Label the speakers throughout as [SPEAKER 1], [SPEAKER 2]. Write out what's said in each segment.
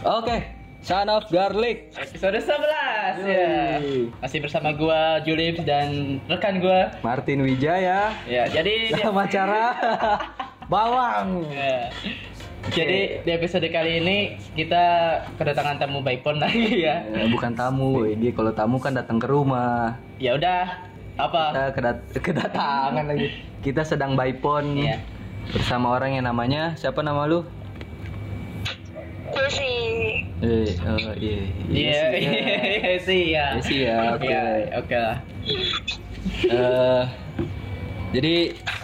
[SPEAKER 1] Oke, Son of Garlic.
[SPEAKER 2] Episode 11 ya.
[SPEAKER 1] Yoi.
[SPEAKER 2] Masih bersama gua Julips dan rekan gua.
[SPEAKER 1] Martin Wijaya.
[SPEAKER 2] Ya, jadi
[SPEAKER 1] Sama cara Bawang.
[SPEAKER 2] Ya. Jadi di episode kali ini kita kedatangan tamu Baipon lagi ya.
[SPEAKER 1] Eh, Bukan tamu, woy. dia kalau tamu kan datang ke rumah.
[SPEAKER 2] Ya udah, apa?
[SPEAKER 1] Kita kedat kedatangan lagi. Kita sedang bypon
[SPEAKER 2] Iya.
[SPEAKER 1] bersama orang yang namanya siapa nama lu?
[SPEAKER 3] Jesse.
[SPEAKER 1] Eh, oh, iya.
[SPEAKER 2] Iya,
[SPEAKER 1] Yes, iya.
[SPEAKER 2] iya sih ya.
[SPEAKER 1] Iya sih, ya, oke.
[SPEAKER 2] Iya, Oke lah.
[SPEAKER 1] Eh, jadi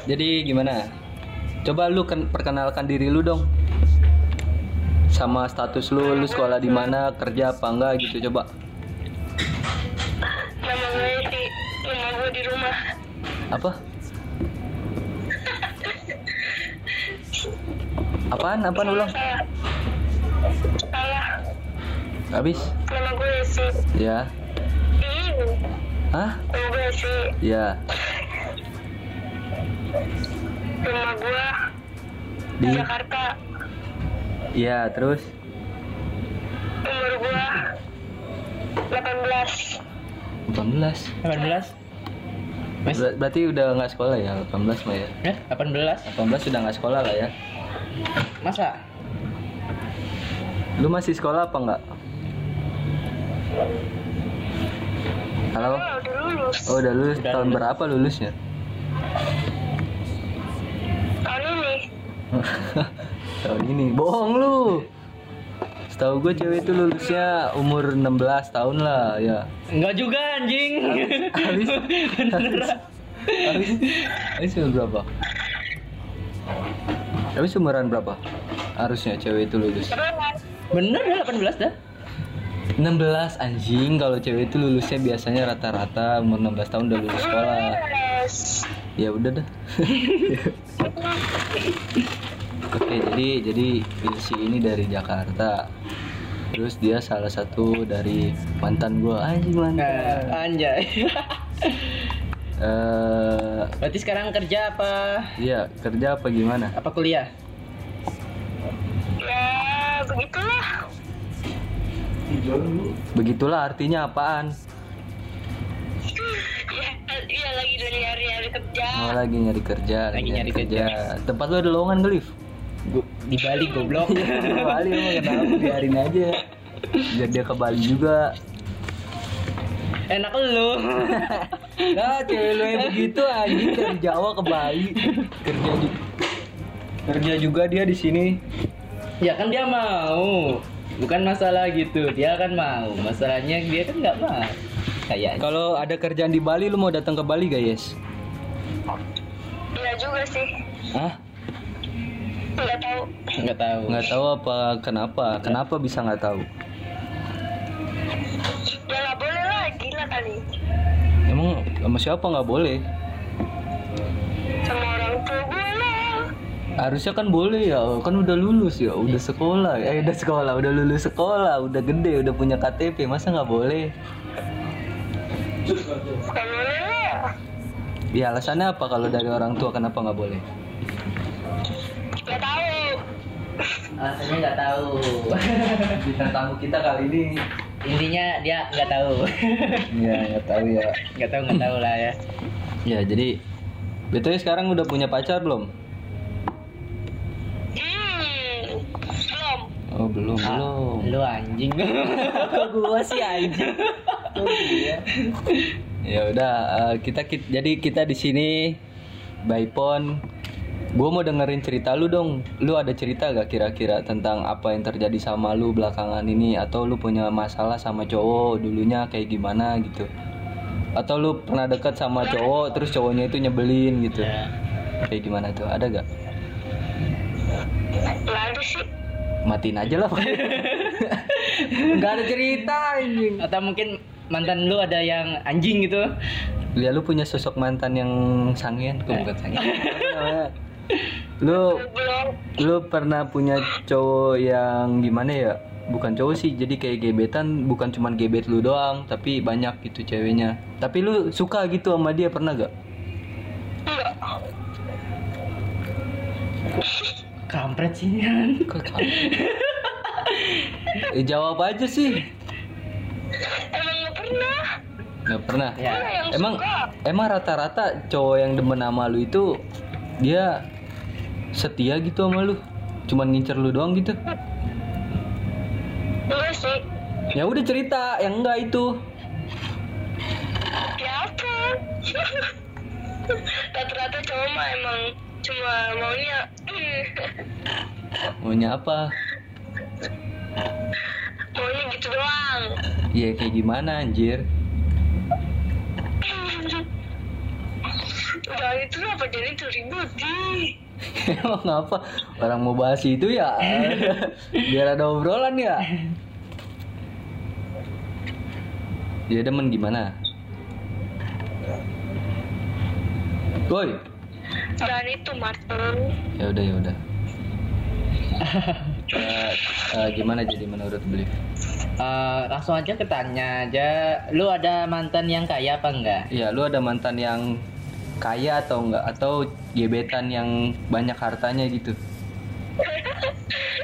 [SPEAKER 1] jadi gimana? Coba lu ken- perkenalkan diri lu dong. Sama status lu, lu sekolah di mana, kerja apa enggak gitu coba.
[SPEAKER 3] Nama gue di nama gue di rumah.
[SPEAKER 1] Apa? Apaan? Apaan ulang?
[SPEAKER 3] Salah. Salah.
[SPEAKER 1] Habis?
[SPEAKER 3] Nama gue Jesse.
[SPEAKER 1] Ya.
[SPEAKER 3] Ih,
[SPEAKER 1] Hah?
[SPEAKER 3] Nama gue Jesse.
[SPEAKER 1] Ya.
[SPEAKER 3] Rumah gue di
[SPEAKER 1] Di
[SPEAKER 3] Jakarta.
[SPEAKER 1] Ya, terus
[SPEAKER 3] Umur gue 18.
[SPEAKER 1] 18.
[SPEAKER 2] 18. Mas,
[SPEAKER 1] Ber- berarti udah nggak sekolah ya 18 mah ya.
[SPEAKER 2] ya, 18.
[SPEAKER 1] 18 sudah nggak sekolah lah ya.
[SPEAKER 2] Masa?
[SPEAKER 1] Lu masih sekolah apa enggak? Halo?
[SPEAKER 3] Wah, udah lulus.
[SPEAKER 1] Oh, udah lulus
[SPEAKER 2] Udah
[SPEAKER 1] tahun
[SPEAKER 2] lulus.
[SPEAKER 1] berapa lulusnya?
[SPEAKER 3] Tahun ini.
[SPEAKER 1] tahun ini. Bohong lu. Setahu gue cewek itu lulusnya umur 16 tahun lah ya.
[SPEAKER 2] Enggak juga anjing.
[SPEAKER 1] Habis habis habis, habis umur berapa? Habis umuran berapa? Harusnya cewek itu lulus.
[SPEAKER 3] Berat.
[SPEAKER 2] Bener ya 18 dah.
[SPEAKER 1] 16 anjing kalau cewek itu lulusnya biasanya rata-rata umur 16 tahun udah lulus sekolah.
[SPEAKER 3] Beres.
[SPEAKER 1] Ya udah dah. Oke, jadi jadi Wilsi ini dari Jakarta. Terus dia salah satu dari mantan gua. Anjing
[SPEAKER 2] Nah,
[SPEAKER 1] mantan.
[SPEAKER 2] anjay.
[SPEAKER 1] Eh,
[SPEAKER 2] Berarti sekarang kerja apa?
[SPEAKER 1] iya, kerja apa gimana?
[SPEAKER 2] Apa kuliah?
[SPEAKER 3] Ya, begitulah.
[SPEAKER 1] Begitulah artinya apaan?
[SPEAKER 3] Ya, ya lagi dari hari-hari kerja.
[SPEAKER 1] Oh, lagi nyari kerja,
[SPEAKER 2] Lagi nyari
[SPEAKER 1] Tempat lu ada lowongan gak, Liv?
[SPEAKER 2] Gu- di Bali goblok.
[SPEAKER 1] Ke Bali emang kenapa biarin aja. Biar dia ke Bali juga.
[SPEAKER 2] Enak lu.
[SPEAKER 1] Nah, cewek lu yang begitu anjing dari Jawa ke Bali kerja di kerja juga dia di sini.
[SPEAKER 2] ya kan dia mau. Bukan masalah gitu, dia kan mau. Masalahnya dia kan nggak mau. Kayaknya.
[SPEAKER 1] Kalau ada kerjaan di Bali lu mau datang ke Bali gak, Yes?
[SPEAKER 3] Iya juga sih.
[SPEAKER 1] Hah?
[SPEAKER 3] Enggak tahu.
[SPEAKER 2] Nggak tahu.
[SPEAKER 1] Nggak tahu apa kenapa? Kenapa bisa nggak tahu?
[SPEAKER 3] Ya nggak boleh lah, gila kali.
[SPEAKER 1] Emang sama siapa nggak boleh?
[SPEAKER 3] Sama orang tua gue lah.
[SPEAKER 1] Harusnya kan boleh ya, kan udah lulus ya, udah sekolah, eh udah sekolah, udah lulus sekolah, udah gede, udah punya KTP, masa nggak boleh?
[SPEAKER 3] Gak boleh lah.
[SPEAKER 1] Ya alasannya apa kalau dari orang tua kenapa nggak boleh?
[SPEAKER 3] Gak tahu.
[SPEAKER 2] Alasannya nggak tahu.
[SPEAKER 1] Bintang tamu kita kali ini,
[SPEAKER 2] Intinya dia nggak tahu.
[SPEAKER 1] ya nggak tahu ya.
[SPEAKER 2] Nggak tahu nggak tahu lah ya.
[SPEAKER 1] Ya jadi, betulnya sekarang udah punya pacar belum?
[SPEAKER 3] Hmm. Belum.
[SPEAKER 1] Oh belum belum.
[SPEAKER 2] Lu anjing.
[SPEAKER 1] gua sih anjing. ya udah eh, kita, kit- jadi kita di sini by phone. Gue mau dengerin cerita lu dong. Lu ada cerita gak kira-kira tentang apa yang terjadi sama lu belakangan ini atau lu punya masalah sama cowok dulunya kayak gimana gitu? Atau lu pernah deket sama cowok terus cowoknya itu nyebelin gitu?
[SPEAKER 2] Ya.
[SPEAKER 1] Kayak gimana tuh? Ada gak?
[SPEAKER 3] Gak ada sih.
[SPEAKER 1] Matiin aja lah. Gak ada cerita anjing.
[SPEAKER 2] Atau mungkin mantan lu ada yang anjing gitu.
[SPEAKER 1] Lia lu punya sosok mantan yang sangean kok bukan sangean. Apa namanya? lu
[SPEAKER 3] Belum.
[SPEAKER 1] lu pernah punya cowok yang gimana ya? Bukan cowok sih, jadi kayak gebetan bukan cuman gebet lu doang, tapi banyak gitu ceweknya. Tapi lu suka gitu sama dia pernah gak?
[SPEAKER 3] Enggak.
[SPEAKER 2] Kampret sih. Yan.
[SPEAKER 1] Kok kamu? Eh, jawab aja sih.
[SPEAKER 3] Emang gak pernah.
[SPEAKER 1] Nggak pernah.
[SPEAKER 2] Ya.
[SPEAKER 3] Mana yang
[SPEAKER 1] Emang
[SPEAKER 3] suka?
[SPEAKER 1] emang rata-rata cowok yang demen sama lu itu dia setia gitu sama lu. Cuman ngincer lu doang gitu.
[SPEAKER 3] Enggak sih.
[SPEAKER 1] Ya udah cerita yang enggak itu.
[SPEAKER 3] Ya apa? Rata-rata cowok mah emang cuma maunya
[SPEAKER 1] Maunya apa?
[SPEAKER 3] maunya gitu doang.
[SPEAKER 1] Ya kayak gimana anjir?
[SPEAKER 3] Udah itu apa jadi tuh ribut di.
[SPEAKER 1] Emang apa? Orang mau bahas itu ya. Biar ada obrolan ya. Dia demen gimana? Woi.
[SPEAKER 3] Dan itu mateng.
[SPEAKER 1] Ya udah ya udah. Eh, eh, gimana jadi menurut beliau?
[SPEAKER 2] Eh, langsung aja ke tanya aja lu ada mantan yang kaya apa enggak
[SPEAKER 1] Iya, lu ada mantan yang kaya atau enggak atau gebetan yang banyak hartanya gitu?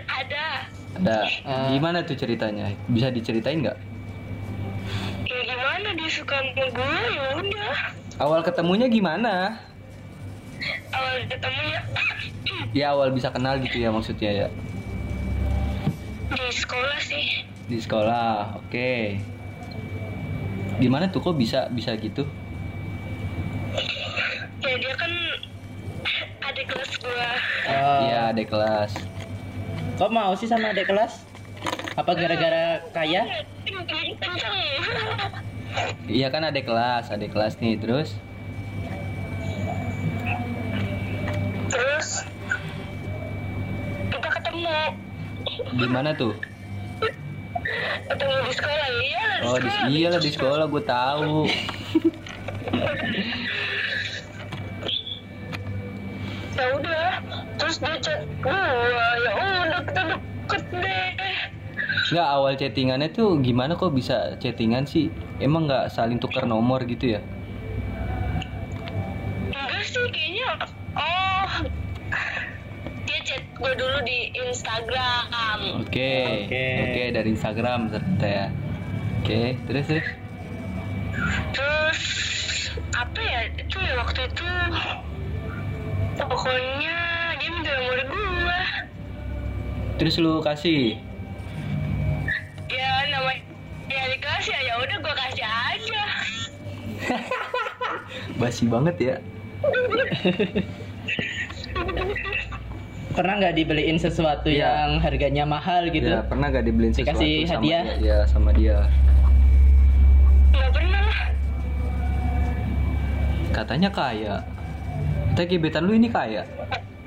[SPEAKER 3] Ada.
[SPEAKER 1] Ada.
[SPEAKER 2] Eh.
[SPEAKER 1] Gimana tuh ceritanya? Bisa diceritain nggak?
[SPEAKER 3] Ya gimana dia suka sama gue ya udah.
[SPEAKER 1] Awal ketemunya gimana?
[SPEAKER 3] Awal ketemunya
[SPEAKER 1] Ya awal bisa kenal gitu ya maksudnya ya.
[SPEAKER 3] di sekolah sih.
[SPEAKER 1] Di sekolah. Oke. Gimana tuh kok bisa bisa gitu?
[SPEAKER 3] Ya dia kan adik kelas gue.
[SPEAKER 2] Eh,
[SPEAKER 1] Iya, ada kelas.
[SPEAKER 2] kok mau sih sama adik kelas apa gara-gara kaya
[SPEAKER 3] Kenceng.
[SPEAKER 1] Iya kan ada kelas, ada kelas nih. Terus
[SPEAKER 3] Terus kita ketemu.
[SPEAKER 1] gimana tuh?
[SPEAKER 3] ketemu di sekolah iya di
[SPEAKER 1] Oh, di,
[SPEAKER 3] sekolah
[SPEAKER 1] iya lah di sekolah gue tahu.
[SPEAKER 3] ya udah terus dia chat gue ya udah kita deket deh
[SPEAKER 1] Nggak awal chattingannya tuh gimana kok bisa chattingan sih? Emang nggak saling tukar nomor gitu ya?
[SPEAKER 3] enggak sih kayaknya oh dia chat gue dulu di Instagram
[SPEAKER 1] Oke,
[SPEAKER 2] Oke.
[SPEAKER 1] oke dari Instagram ternyata ya. Oke, terus terus.
[SPEAKER 3] terus apa ya itu ya waktu itu pokoknya dia minta nomor gue
[SPEAKER 1] Terus lu kasih.
[SPEAKER 3] ya namanya ya di kelas ya ya udah gue kasih aja
[SPEAKER 1] Basi banget ya.
[SPEAKER 2] pernah nggak dibeliin sesuatu
[SPEAKER 1] Iya.
[SPEAKER 2] yang harganya mahal gitu
[SPEAKER 1] Ya, pernah gak dibeliin sesuatu
[SPEAKER 2] Dikasih
[SPEAKER 1] sama
[SPEAKER 2] hadiah?
[SPEAKER 1] dia? Ya, sama dia.
[SPEAKER 3] nggak pernah lah
[SPEAKER 1] Katanya kaya. Kita gebetan lu ini kaya.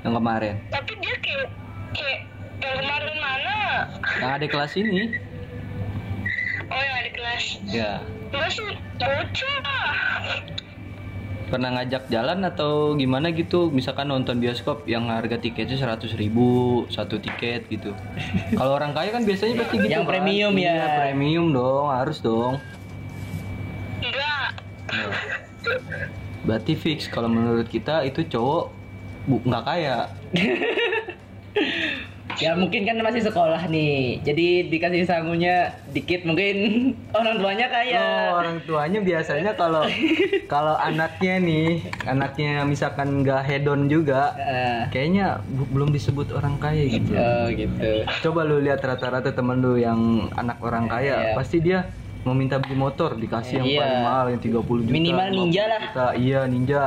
[SPEAKER 1] Yang kemarin.
[SPEAKER 3] tapi dia kayak kayak yang kemarin mana
[SPEAKER 1] Yang ada kelas ini.
[SPEAKER 3] oh yang ada kelas
[SPEAKER 1] Ya.
[SPEAKER 3] enggak sih bocah
[SPEAKER 1] Pernah ngajak jalan atau gimana gitu? Misalkan nonton bioskop yang harga tiketnya 100.000 ribu satu tiket gitu. Kalau orang kaya kan biasanya pasti gitu. kan?
[SPEAKER 2] Yang premium ya.
[SPEAKER 1] Iya, premium dong, harus dong.
[SPEAKER 3] enggak
[SPEAKER 1] Ya. Berarti fix kalau menurut kita itu cowok bu- nggak kaya.
[SPEAKER 2] ya mungkin kan masih sekolah nih jadi dikasih sangunya dikit mungkin orang tuanya kaya
[SPEAKER 1] Oh, orang tuanya biasanya kalau kalau anaknya nih, anaknya misalkan nggak hedon juga,
[SPEAKER 2] Eh,
[SPEAKER 1] kayaknya bu- belum disebut orang kaya gitu.
[SPEAKER 2] oh gitu
[SPEAKER 1] Coba lu lihat rata-rata temen lu yang anak orang kaya,
[SPEAKER 2] Iya.
[SPEAKER 1] pasti dia mau minta beli motor dikasih yang
[SPEAKER 2] Iya.
[SPEAKER 1] paling mahal yang 30 juta.
[SPEAKER 2] Minimal
[SPEAKER 1] 50
[SPEAKER 2] ninja lah.
[SPEAKER 1] juta. Iya, ninja.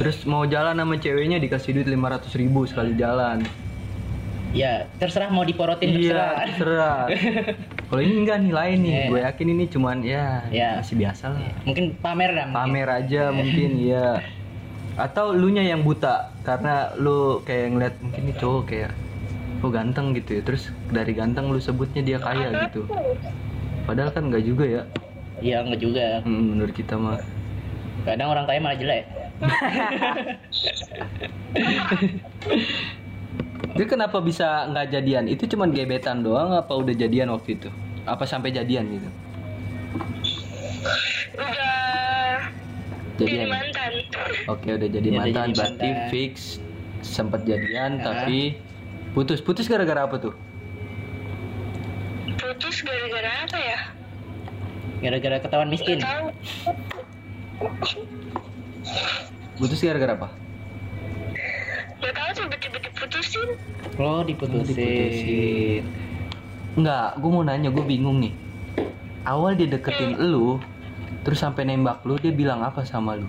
[SPEAKER 1] Terus mau jalan sama ceweknya dikasih duit 500 ribu sekali jalan.
[SPEAKER 2] ya terserah mau diporotin terserah
[SPEAKER 1] Iya, terserah. Kalau ini enggak nih lain nih.
[SPEAKER 2] Iya.
[SPEAKER 1] Gue yakin ini cuman ya
[SPEAKER 2] Iya.
[SPEAKER 1] masih biasa lah.
[SPEAKER 2] mungkin pamer lah mungkin.
[SPEAKER 1] Pamer aja mungkin ya. Atau lu nya yang buta karena lu kayak ngeliat mungkin nih cowok kayak lu ganteng gitu ya. Terus dari ganteng lu sebutnya dia kaya gitu. Padahal kan enggak juga ya
[SPEAKER 2] iya enggak juga
[SPEAKER 1] mm, menurut kita mah.
[SPEAKER 2] kadang orang kaya malah jelek
[SPEAKER 1] Dia kenapa bisa nggak jadian? Itu cuman gebetan doang apa udah jadian waktu itu? Apa sampai jadian gitu?
[SPEAKER 3] udah jadi
[SPEAKER 1] Jadian.
[SPEAKER 3] mantan
[SPEAKER 1] Oke udah jadi
[SPEAKER 2] Iya, udah
[SPEAKER 1] mantan Iya.
[SPEAKER 2] jadi
[SPEAKER 1] berarti
[SPEAKER 2] mantan.
[SPEAKER 1] fix sempat jadian
[SPEAKER 2] Ya.
[SPEAKER 1] tapi putus putus gara-gara apa tuh?
[SPEAKER 3] putus gara-gara apa ya?
[SPEAKER 2] Gara-gara ketahuan miskin.
[SPEAKER 3] Nggak tahu.
[SPEAKER 1] Putus gara-gara apa?
[SPEAKER 3] Nggak tahu tiba-tiba diputusin.
[SPEAKER 2] Lo
[SPEAKER 1] Diputusin.
[SPEAKER 2] diputusin.
[SPEAKER 1] Enggak, gue mau nanya, gue bingung nih. Awal dia deketin lu, terus sampai nembak lu, dia bilang apa sama lu?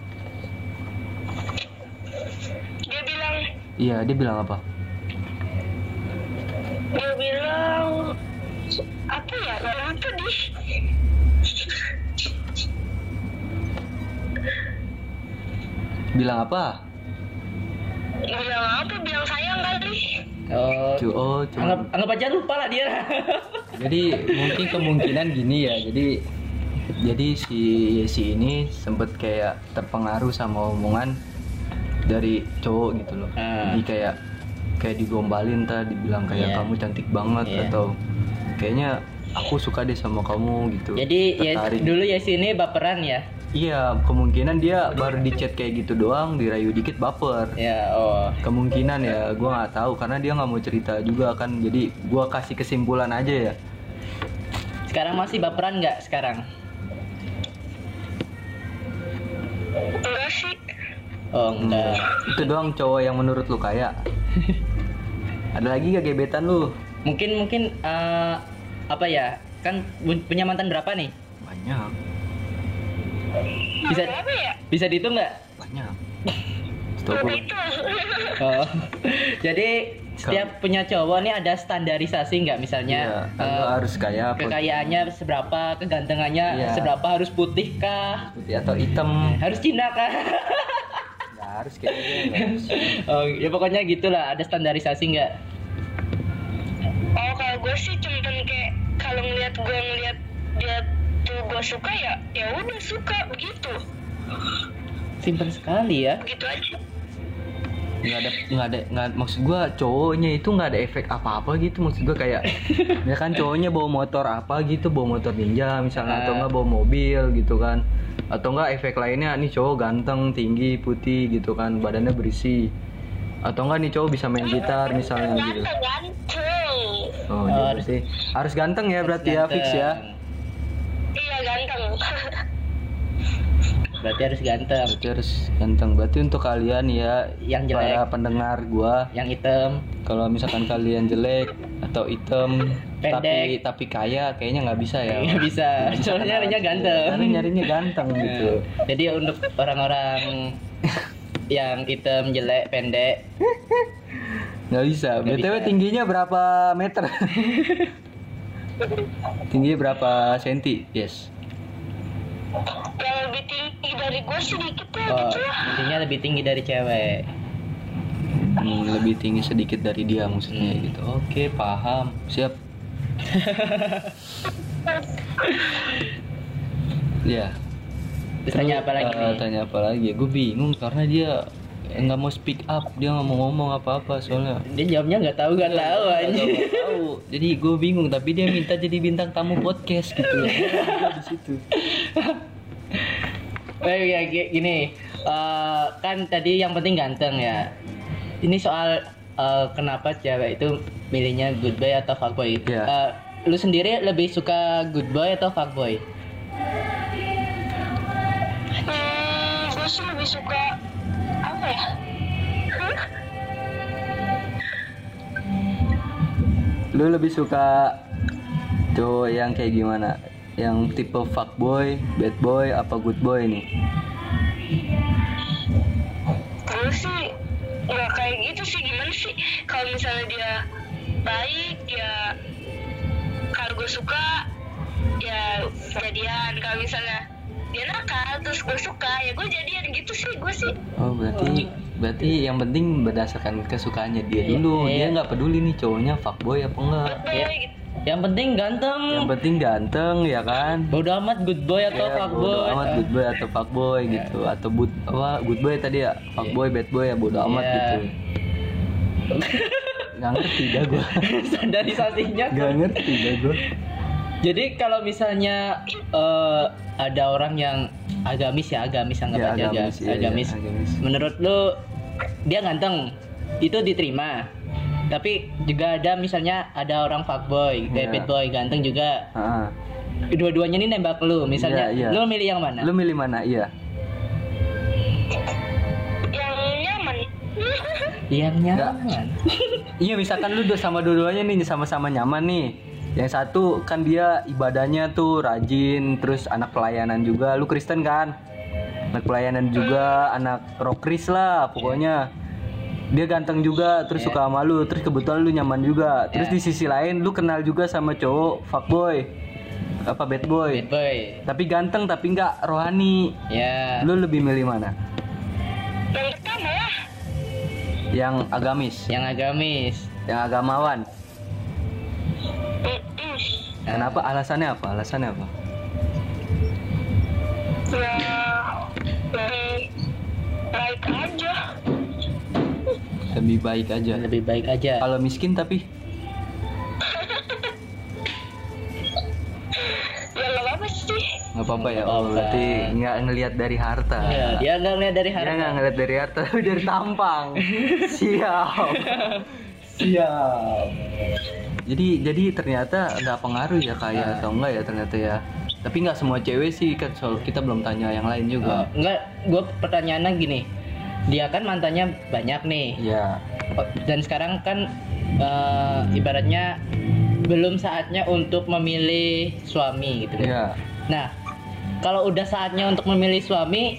[SPEAKER 3] Dia bilang,
[SPEAKER 1] Iya, dia bilang apa?
[SPEAKER 3] dia bilang apa ya? Nggak lupa di.
[SPEAKER 1] Bilang apa?
[SPEAKER 3] Bilang apa? Bilang sayang kali.
[SPEAKER 2] Oh,
[SPEAKER 1] Cu- Oh,
[SPEAKER 2] anggap,
[SPEAKER 1] cuma.
[SPEAKER 2] anggap aja lupa lah dia.
[SPEAKER 1] Jadi mungkin kemungkinan gini ya. Jadi jadi si si ini sempet kayak terpengaruh sama omongan dari cowok gitu loh.
[SPEAKER 2] Ah.
[SPEAKER 1] Jadi kayak kayak digombalin tadi dibilang kayak
[SPEAKER 2] Iya.
[SPEAKER 1] kamu cantik banget
[SPEAKER 2] Iya.
[SPEAKER 1] atau kayaknya aku suka deh sama kamu gitu.
[SPEAKER 2] Jadi ya
[SPEAKER 1] Tertarik.
[SPEAKER 2] dulu ya sini baperan ya.
[SPEAKER 1] Iya, kemungkinan dia baru di chat kayak gitu doang, dirayu dikit baper.
[SPEAKER 2] Ya, oh.
[SPEAKER 1] Kemungkinan ya, gua nggak tahu karena dia nggak mau cerita juga kan. Jadi gua kasih kesimpulan aja ya.
[SPEAKER 2] Sekarang masih baperan nggak sekarang?
[SPEAKER 3] Enggak sih.
[SPEAKER 2] Oh,
[SPEAKER 1] Hmm,
[SPEAKER 2] enggak.
[SPEAKER 1] Itu doang cowok yang menurut lu kaya. Ada lagi gak gebetan lu?
[SPEAKER 2] Mungkin mungkin eh, apa ya? Kan bu- punya mantan berapa nih?
[SPEAKER 1] Banyak,
[SPEAKER 2] Bisa
[SPEAKER 3] Apa ya?
[SPEAKER 2] bisa dihitung nggak?
[SPEAKER 1] banyak.
[SPEAKER 3] Nggak
[SPEAKER 1] Setahu gua.
[SPEAKER 3] itu.
[SPEAKER 2] Oh. Jadi setiap punya cowok nih ada standarisasi nggak
[SPEAKER 1] Iya,
[SPEAKER 2] misalnya
[SPEAKER 1] kan lu
[SPEAKER 2] eh,
[SPEAKER 1] harus kaya apa?
[SPEAKER 2] kekayaannya seberapa, kegantengannya
[SPEAKER 1] Iya.
[SPEAKER 2] seberapa, harus putih kah?
[SPEAKER 1] Putih atau hitam?
[SPEAKER 2] Harus Cina kah?
[SPEAKER 1] Gak harus kayak gitu. nggak harus.
[SPEAKER 2] oh, ya pokoknya gitulah, ada standarisasi nggak?
[SPEAKER 3] Oh kalau gue sih cuman kayak kalau ngeliat gue ngeliat dia tuh gue suka ya ya udah suka begitu
[SPEAKER 2] Simpen sekali ya.
[SPEAKER 3] begitu aja
[SPEAKER 1] nggak ada nggak ada nggak maksud gua cowoknya itu nggak ada efek apa-apa gitu maksud gua kayak ya kan cowoknya bawa motor apa gitu bawa motor ninja misalnya atau
[SPEAKER 2] Ah.
[SPEAKER 1] nggak bawa mobil gitu kan atau nggak efek lainnya nih cowok ganteng tinggi putih gitu kan badannya berisi atau nggak nih cowok bisa main gitar misalnya gitu
[SPEAKER 3] ganteng ganteng
[SPEAKER 1] oh,
[SPEAKER 2] Oh,
[SPEAKER 1] iya
[SPEAKER 2] harus-
[SPEAKER 1] berarti harus ganteng ya berarti ya fix ya
[SPEAKER 2] Ganteng.
[SPEAKER 3] iya ganteng
[SPEAKER 2] Berarti harus ganteng.
[SPEAKER 1] berarti harus ganteng berarti untuk kalian ya
[SPEAKER 2] Yang jelek.
[SPEAKER 1] para pendengar gua
[SPEAKER 2] Yang hitam.
[SPEAKER 1] kalau misalkan kalian jelek atau item tapi
[SPEAKER 2] Pendek.
[SPEAKER 1] tapi kaya kayaknya nggak bisa ya
[SPEAKER 2] Nggak bisa.
[SPEAKER 1] Nggak bisa
[SPEAKER 2] Soalnya
[SPEAKER 1] karena-
[SPEAKER 2] nyarinya ganteng.
[SPEAKER 1] karena nyarinya ganteng gitu
[SPEAKER 2] Jadi untuk orang-orang yang hitam, jelek, pendek,
[SPEAKER 1] nggak bisa
[SPEAKER 2] Nggak
[SPEAKER 1] btw
[SPEAKER 2] bisa.
[SPEAKER 1] tingginya berapa meter tinggi berapa senti yes
[SPEAKER 3] yang lebih tinggi dari gue sedikit tuh
[SPEAKER 2] oh,
[SPEAKER 3] gitu lah
[SPEAKER 2] intinya lebih tinggi dari cewek.
[SPEAKER 1] Hmm, lebih tinggi sedikit dari dia maksudnya
[SPEAKER 2] Hmm.
[SPEAKER 1] gitu oke paham siap ya
[SPEAKER 2] Terus tanya apa lagi
[SPEAKER 1] Eh,
[SPEAKER 2] nih?
[SPEAKER 1] Tanya apa lagi? Gue bingung karena dia nggak mau speak up, dia nggak mau ngomong apa-apa soalnya.
[SPEAKER 2] Dia jawabnya nggak tahu, nggak tahu anjing.
[SPEAKER 1] Nggak tahu. Jadi gue bingung, tapi dia minta jadi bintang tamu podcast gitu. Gua di situ.
[SPEAKER 2] Eh ya gi- gini, eh, kan tadi yang penting ganteng ya. Ini soal eh, kenapa cewek itu milihnya good boy atau fuckboy.
[SPEAKER 1] Iya.
[SPEAKER 2] Eh, lu sendiri lebih suka good boy atau fuckboy?
[SPEAKER 3] hmm, gue sih lebih suka apa ya
[SPEAKER 1] Lu lebih suka cowok yang kayak gimana? Yang tipe fuckboy, bad boy, apa good boy nih?
[SPEAKER 3] gue sih nggak kayak gitu sih gimana sih kalau misalnya dia baik ya kalau gue suka ya jadian kalau misalnya dia nakal terus gue suka ya gue jadian gitu sih gue sih
[SPEAKER 1] Oh berarti berarti yang penting berdasarkan kesukaannya dia
[SPEAKER 2] Iya,
[SPEAKER 1] dulu.
[SPEAKER 2] iya.
[SPEAKER 1] Dia nggak peduli nih cowoknya fuckboy apa enggak.
[SPEAKER 3] Bye, gitu
[SPEAKER 2] Yang penting ganteng.
[SPEAKER 1] Yang penting ganteng ya kan.
[SPEAKER 2] Bodoh amat good boy Eh, Iya. atau
[SPEAKER 1] Iya,
[SPEAKER 2] fuckboy.
[SPEAKER 1] bodo amat good boy atau fuckboy gitu atau but apa good boy tadi ya fuckboy bad boy ya bodo amat
[SPEAKER 2] Iya.
[SPEAKER 1] gitu nggak ngerti dah gue
[SPEAKER 2] Iya. Standarisasinya.
[SPEAKER 1] nggak ngerti dah gue
[SPEAKER 2] Jadi kalau misalnya eh, ada orang yang agamis ya agamis anggap aja agamis, Nah.
[SPEAKER 1] iya, iya,
[SPEAKER 2] agamis.
[SPEAKER 1] agamis.
[SPEAKER 2] Menurut lu dia ganteng itu diterima? Tapi juga ada misalnya ada orang fuckboy,
[SPEAKER 1] Iya.
[SPEAKER 2] kayak bad boy, ganteng juga.
[SPEAKER 1] Ah,
[SPEAKER 2] Dua-duanya ini nembak lu, misalnya
[SPEAKER 1] Iya, iya.
[SPEAKER 2] lu milih yang mana?
[SPEAKER 1] Lu milih mana? Iya.
[SPEAKER 3] yang nyaman
[SPEAKER 2] Yang
[SPEAKER 1] Nggak.
[SPEAKER 2] nyaman.
[SPEAKER 1] Iya, misalkan lu udah sama dua-duanya nih sama-sama nyaman nih. Yang satu kan dia ibadahnya tuh rajin, terus anak pelayanan juga. Lu Kristen kan? Anak pelayanan juga, anak rockris lah pokoknya. Dia ganteng juga, terus
[SPEAKER 2] Iya.
[SPEAKER 1] suka sama lu, terus kebetulan lu nyaman juga. Terus
[SPEAKER 2] Iya.
[SPEAKER 1] di sisi lain lu kenal juga sama cowok fuckboy. Apa bad boy.
[SPEAKER 2] Bad boy.
[SPEAKER 1] Tapi ganteng tapi nggak rohani.
[SPEAKER 2] Ya.
[SPEAKER 1] Lu lebih milih mana?
[SPEAKER 3] yang pertama lah
[SPEAKER 1] Yang agamis,
[SPEAKER 2] Yang agamis.
[SPEAKER 1] yang agamawan.
[SPEAKER 3] Mm-mm.
[SPEAKER 1] Kenapa? Alasannya apa? Alasannya apa?
[SPEAKER 3] ya lebih baik aja
[SPEAKER 1] Lebih baik aja.
[SPEAKER 2] Lebih baik aja.
[SPEAKER 1] Iya. Kalau miskin tapi
[SPEAKER 3] ya nggak apa-apa sih
[SPEAKER 1] nggak apa-apa ya. Oh,
[SPEAKER 2] Nggak apa-apa.
[SPEAKER 1] berarti nggak ngelihat dari harta.
[SPEAKER 2] Ya, dia nggak ngeliat dari
[SPEAKER 1] Dia
[SPEAKER 2] harta.
[SPEAKER 1] nggak ngelihat dari harta, tapi dari tampang. Siap. Siap. Jadi jadi ternyata nggak pengaruh ya
[SPEAKER 2] Ah.
[SPEAKER 1] kayak atau enggak ya ternyata ya. Tapi nggak semua cewek sih kan soal kita belum tanya yang lain
[SPEAKER 2] Oh,
[SPEAKER 1] juga.
[SPEAKER 2] enggak, gue pertanyaannya gini. Dia kan mantannya banyak nih.
[SPEAKER 1] Iya.
[SPEAKER 2] Oh, Dan sekarang kan eh, ibaratnya belum saatnya untuk memilih suami gitu kan.
[SPEAKER 1] Iya.
[SPEAKER 2] Nah, kalau udah saatnya untuk memilih suami,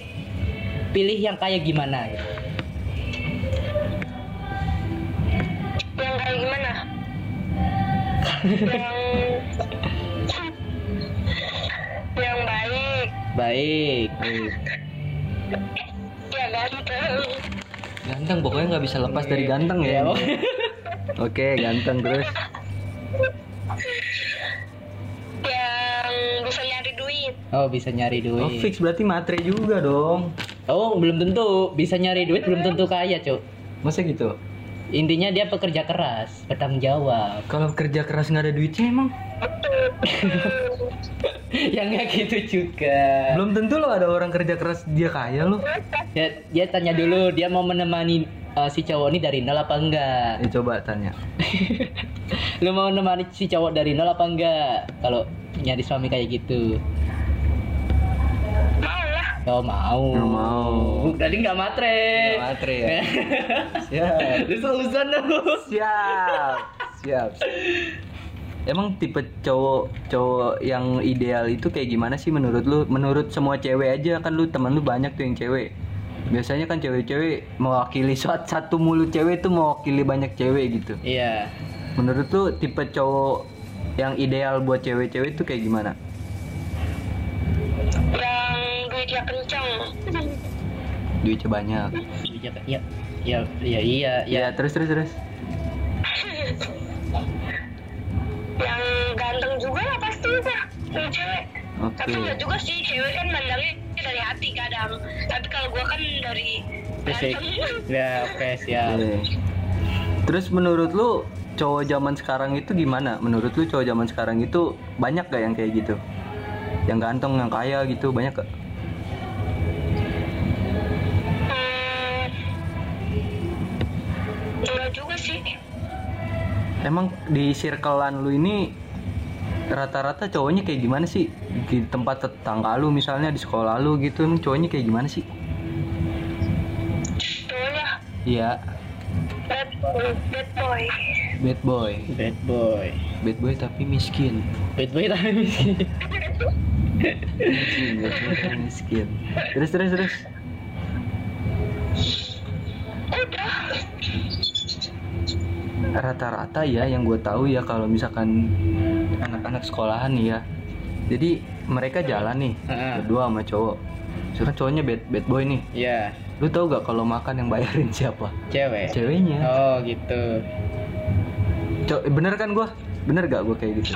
[SPEAKER 2] pilih yang kayak gimana gitu.
[SPEAKER 3] yang kayak gimana yang yang baik
[SPEAKER 2] Baik.
[SPEAKER 1] Iya.
[SPEAKER 3] ya ganteng
[SPEAKER 1] Ganteng pokoknya nggak bisa lepas dari ganteng ya.
[SPEAKER 2] Iya, Bang.
[SPEAKER 1] Oke, ganteng terus.
[SPEAKER 3] yang bisa nyari duit
[SPEAKER 2] Oh, bisa nyari duit.
[SPEAKER 1] Oh, fix berarti matre juga dong.
[SPEAKER 2] Oh, belum tentu bisa nyari duit, belum tentu kaya, Cuk.
[SPEAKER 1] Masa gitu?
[SPEAKER 2] Intinya dia pekerja keras, bertanggung jawab.
[SPEAKER 1] Kalau kerja keras nggak ada duitnya emang?
[SPEAKER 2] yang nggak gitu juga.
[SPEAKER 1] Belum tentu lo ada orang kerja keras dia kaya lo. Nah,
[SPEAKER 2] Dia, dia tanya dulu, dia mau menemani uh, si cowok ini dari nol apa enggak?
[SPEAKER 1] Ya, coba tanya.
[SPEAKER 2] Lu mau menemani si cowok dari nol apa enggak? Kalau nyari suami kayak gitu.
[SPEAKER 3] mau lah
[SPEAKER 2] Oh, mau.
[SPEAKER 1] Nggak mau.
[SPEAKER 2] Tadi nggak matre.
[SPEAKER 1] Nggak matre ya? Siap.
[SPEAKER 2] Lu seuzon lu.
[SPEAKER 1] Siap. Siap. Emang tipe cowok cowok yang ideal itu kayak gimana sih menurut lu? Menurut semua cewek aja kan lu teman lu banyak tuh yang cewek. Biasanya kan cewek-cewek mewakili suat- satu mulut cewek itu mewakili banyak cewek gitu.
[SPEAKER 2] Iya.
[SPEAKER 1] Menurut lu tipe cowok yang ideal buat cewek-cewek itu kayak gimana?
[SPEAKER 3] yang duitnya kencang
[SPEAKER 1] Duitnya banyak.
[SPEAKER 2] Iya, iya, iya, iya, iya, iya.
[SPEAKER 1] Ya, terus terus terus.
[SPEAKER 3] yang ganteng juga lah pasti udah yang cewek
[SPEAKER 1] Oke.
[SPEAKER 3] tapi nggak juga sih cewek kan mandangnya dari hati kadang tapi kalau gua kan dari
[SPEAKER 2] Fisik.
[SPEAKER 3] ganteng
[SPEAKER 2] Ya, oke,
[SPEAKER 1] Oke.
[SPEAKER 2] siap.
[SPEAKER 1] Iya. Terus menurut lu cowok zaman sekarang itu gimana? Menurut lu cowok zaman sekarang itu banyak gak yang kayak gitu? Yang ganteng, yang kaya gitu banyak gak?
[SPEAKER 3] Hmm, enggak juga sih
[SPEAKER 1] Emang di circlean lu ini rata-rata cowoknya kayak gimana sih? Di tempat tetangga lu misalnya di sekolah lu gitu, emang cowoknya kayak gimana sih?
[SPEAKER 3] cowoknya
[SPEAKER 1] Iya,
[SPEAKER 3] bad boy bad boy
[SPEAKER 1] bad boy.
[SPEAKER 2] Bad boy.
[SPEAKER 1] Bad boy tapi miskin.
[SPEAKER 2] Bad boy tapi miskin.
[SPEAKER 1] Miskin, bad boy tapi miskin. Terus terus terus.
[SPEAKER 3] udah
[SPEAKER 1] rata-rata ya yang gue tahu ya kalau misalkan anak-anak sekolahan nih ya jadi mereka jalan nih
[SPEAKER 2] Heeh.
[SPEAKER 1] berdua sama cowok misalkan cowoknya bad, bad boy nih
[SPEAKER 2] Iya,
[SPEAKER 1] lu tahu gak kalau makan yang bayarin siapa
[SPEAKER 2] cewek.
[SPEAKER 1] ceweknya
[SPEAKER 2] Oh, gitu.
[SPEAKER 1] Cow- bener kan gue bener gak gue kayak gitu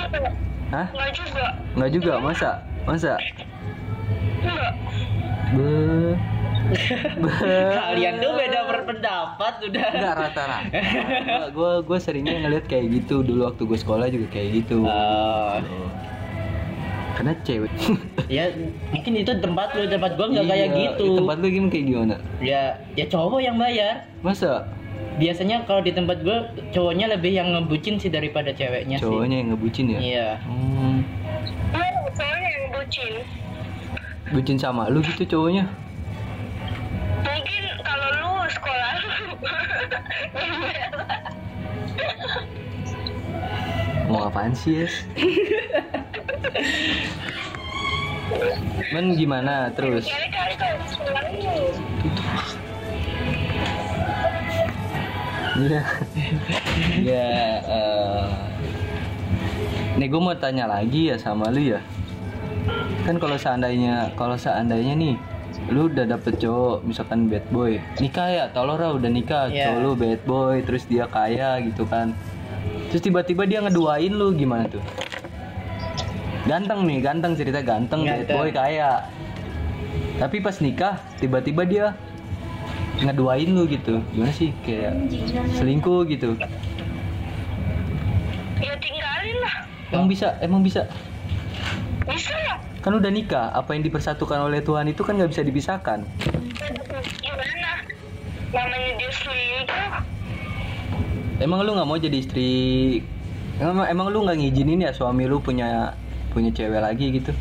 [SPEAKER 1] hah
[SPEAKER 3] enggak juga
[SPEAKER 1] nggak juga masa masa
[SPEAKER 3] enggak
[SPEAKER 1] be be
[SPEAKER 2] Kalian tuh Eh, beda berpendapat udah.
[SPEAKER 1] Enggak rata-rata. Gue gue seringnya ngeliat kayak gitu dulu waktu gue sekolah juga kayak gitu.
[SPEAKER 2] Oh,
[SPEAKER 1] Karena cewek.
[SPEAKER 2] ya mungkin itu tempat lu tempat gua Oh, nggak
[SPEAKER 1] Iya,
[SPEAKER 2] kayak gitu.
[SPEAKER 1] Tempat lu gimana kayak gimana?
[SPEAKER 2] Ya ya cowok yang bayar.
[SPEAKER 1] Masa?
[SPEAKER 2] biasanya kalau di tempat gue cowoknya lebih yang ngebucin sih daripada ceweknya sih.
[SPEAKER 1] Cowoknya yang ngebucin ya?
[SPEAKER 2] Iya.
[SPEAKER 1] Hmm,
[SPEAKER 3] Mau soalnya yang bucin.
[SPEAKER 1] bucin sama lu gitu cowoknya?
[SPEAKER 3] Mungkin kalau lu Iya. sekolah lu
[SPEAKER 1] Mau apaan sih, Yes? Men gimana terus?
[SPEAKER 3] Kali kali kalau sekolah lu.
[SPEAKER 1] Iya. Iya. eh, Nih gue mau tanya lagi ya sama lu ya. Kan kalau seandainya kalau seandainya nih lu udah dapet cowok misalkan bad boy nikah ya tau lo Ra, udah nikah
[SPEAKER 2] Iya.
[SPEAKER 1] cowok lu bad boy terus dia kaya gitu kan terus tiba-tiba dia ngeduain lu gimana tuh ganteng nih ganteng cerita ganteng, bad
[SPEAKER 2] Ganteng.
[SPEAKER 1] boy kaya tapi pas nikah tiba-tiba dia ngeduain lu gitu gimana sih kayak selingkuh gitu
[SPEAKER 3] Ya tinggalin lah.
[SPEAKER 1] emang bisa emang bisa
[SPEAKER 3] Bisa lah.
[SPEAKER 1] kan udah nikah apa yang dipersatukan oleh Tuhan itu kan nggak bisa dipisahkan
[SPEAKER 3] Gimana? Namanya dia selingkuh.
[SPEAKER 1] emang lu nggak mau jadi istri emang, emang lu nggak ngizinin ya suami lu punya punya cewek lagi gitu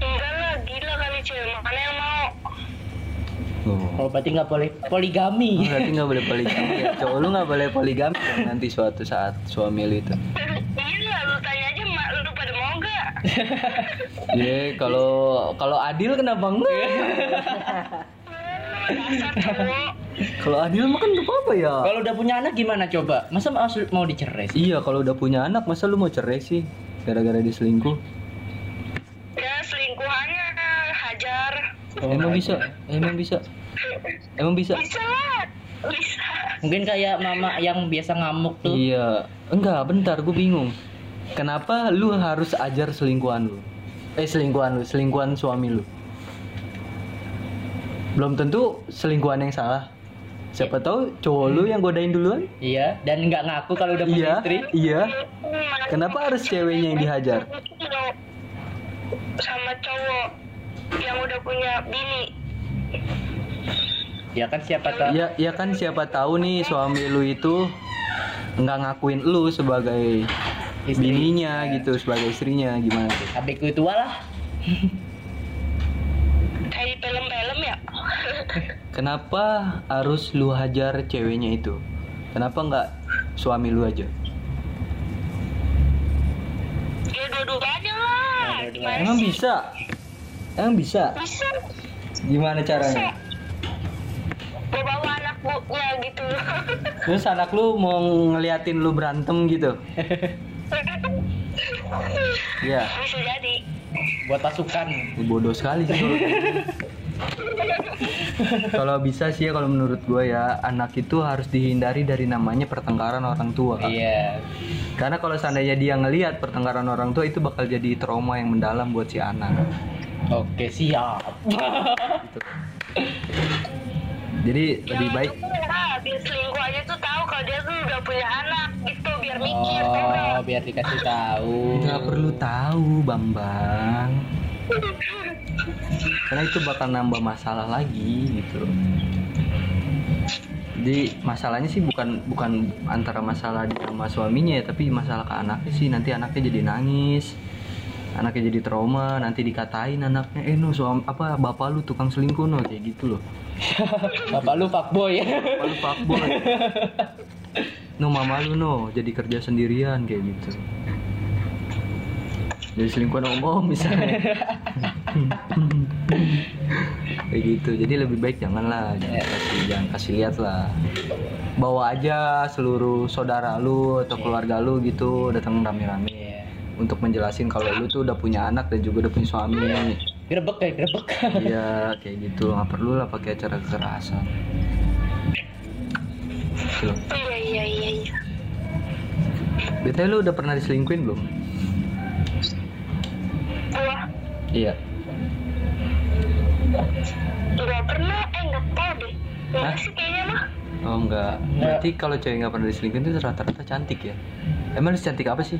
[SPEAKER 3] Enggak lah, gila kali cewek. Makanya yang mau.
[SPEAKER 1] oh.
[SPEAKER 2] Oh berarti nggak boleh poligami.
[SPEAKER 1] berarti nggak boleh poligami ya. cowok lu nggak boleh poligami dong nanti suatu saat suami lu itu
[SPEAKER 3] Iya lah, lu tanya aja mak lu pada mau gak?
[SPEAKER 1] Ye, kalau kalau adil kenapa enggak
[SPEAKER 3] Dasar cowok.
[SPEAKER 1] kalau adil mah kan nggak apa-apa ya
[SPEAKER 2] Kalau udah punya anak gimana coba? Masa mau mau dicerai sih?
[SPEAKER 1] iya kalau udah punya anak masa lu mau cerai sih gara-gara diselingkuh
[SPEAKER 3] Ya selingkuhannya hajar.
[SPEAKER 1] emang ya? bisa emang bisa emang bisa
[SPEAKER 3] Bisa lah. Bisa.
[SPEAKER 2] Mungkin kayak mama yang biasa ngamuk tuh.
[SPEAKER 1] iya enggak bentar gue bingung kenapa lu harus ajar selingkuhan lu eh selingkuhan lu selingkuhan suami lu belum tentu selingkuhan yang salah siapa tahu cowok lu yang godain duluan
[SPEAKER 2] Iya, dan nggak ngaku kalau udah punya
[SPEAKER 1] iya
[SPEAKER 2] istri.
[SPEAKER 1] iya
[SPEAKER 3] Mas-
[SPEAKER 1] kenapa harus ceweknya yang dihajar
[SPEAKER 3] sama cowok yang udah punya bini
[SPEAKER 2] Ya kan siapa tahu.
[SPEAKER 1] ya ya kan siapa tahu nih suami lu itu nggak ngakuin lu sebagai
[SPEAKER 2] Istri.
[SPEAKER 1] bininya gitu sebagai istrinya gimana tuh
[SPEAKER 2] Adikku tua lah.
[SPEAKER 3] kayak di film-film ya
[SPEAKER 1] Kenapa harus lu hajar ceweknya itu? Kenapa nggak suami lu aja?
[SPEAKER 3] ya dua-duanya lah
[SPEAKER 2] Ya, dua-duanya.
[SPEAKER 3] gimana
[SPEAKER 1] Emang
[SPEAKER 3] sih
[SPEAKER 1] bisa? Emang bisa?
[SPEAKER 3] bisa
[SPEAKER 1] Gimana
[SPEAKER 3] bisa
[SPEAKER 1] caranya?
[SPEAKER 3] gue bawa anak buknya gitu
[SPEAKER 1] Terus anak lu mau ngeliatin lu berantem gitu? Ya,
[SPEAKER 3] bisa jadi
[SPEAKER 2] Buat pasukan.
[SPEAKER 1] bodoh sekali sih kalau kayak gini. Kalau bisa sih ya kalau menurut gua ya anak itu harus dihindari dari namanya pertengkaran orang tua. Kak.
[SPEAKER 2] Iya.
[SPEAKER 1] Karena kalau seandainya dia ngelihat pertengkaran orang tua itu bakal jadi trauma yang mendalam buat si anak.
[SPEAKER 2] Oke, siap.
[SPEAKER 1] gitu. Jadi lebih
[SPEAKER 3] Ya,
[SPEAKER 1] baik
[SPEAKER 3] lah biar selingkuhannya tuh tahu kalau dia tuh udah punya anak gitu biar mikir tau
[SPEAKER 2] Oh,
[SPEAKER 3] nggak?
[SPEAKER 2] biar dikasih tahu.
[SPEAKER 1] nggak perlu tahu Bambang. Karena itu bakal nambah masalah lagi gitu. Jadi masalahnya sih bukan bukan antara masalah dia sama suaminya ya, tapi masalah ke anaknya sih nanti anaknya jadi nangis. Anaknya jadi trauma, nanti dikatain anaknya, eh no suam apa bapak lu tukang selingkuh no kayak gitu loh.
[SPEAKER 2] Bapak lu fuckboy ya.
[SPEAKER 1] Bapak lu fuckboy. no mama lu no jadi kerja sendirian kayak gitu jadi selingkuhan om om misalnya kayak gitu jadi lebih baik janganlah jangan kasih jangan kasih lihat lah bawa aja seluruh saudara lu atau keluarga lu gitu datang rame-rame
[SPEAKER 2] Iya.
[SPEAKER 1] untuk menjelasin kalau lu tuh udah punya anak dan juga udah punya suami
[SPEAKER 2] Grebek ya, grebek.
[SPEAKER 1] Iya kayak gitu nggak perlu lah pakai acara kekerasan. Gitu loh.
[SPEAKER 3] iya iya iya iya
[SPEAKER 1] BTW lu udah pernah diselingkuin belum?
[SPEAKER 3] Wah,
[SPEAKER 1] Iya.
[SPEAKER 3] nggak pernah eh nggak tahu deh nggak
[SPEAKER 1] Hah?
[SPEAKER 3] sih kayaknya mah
[SPEAKER 1] Oh enggak. Berarti kalau cewek nggak pernah diselingkuin itu rata-rata cantik ya. Emang lu cantik apa sih?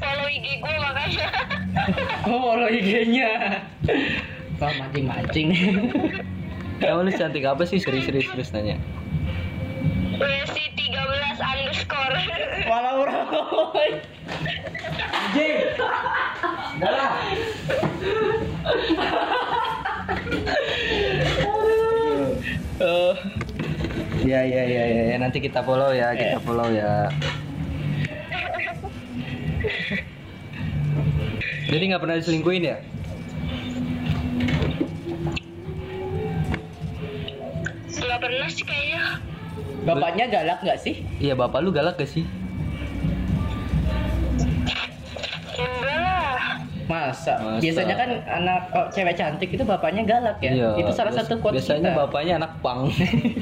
[SPEAKER 3] follow IG gue makanya
[SPEAKER 2] Oh, follow IG-nya. Kau mancing-mancing.
[SPEAKER 1] Kamu lu cantik apa sih serius-serius terus nanya?
[SPEAKER 3] WSI 13 underscore
[SPEAKER 2] Malah merokok.
[SPEAKER 1] Anjing. Udah lah. Ya ya ya ya ya. nanti kita follow ya, kita
[SPEAKER 2] Eh.
[SPEAKER 1] follow ya. Jadi nggak pernah diselingkuhin ya?
[SPEAKER 3] nggak pernah sih kayaknya
[SPEAKER 2] Bapaknya galak nggak sih?
[SPEAKER 1] Iya bapak lu galak gak sih?
[SPEAKER 3] enggak lah
[SPEAKER 2] Masa?
[SPEAKER 1] Masa.
[SPEAKER 2] Biasanya kan anak oh, cewek cantik itu bapaknya galak ya. itu salah
[SPEAKER 1] bias-
[SPEAKER 2] satu kuat
[SPEAKER 1] Iya, Biasanya
[SPEAKER 2] kita.
[SPEAKER 1] bapaknya anak pang.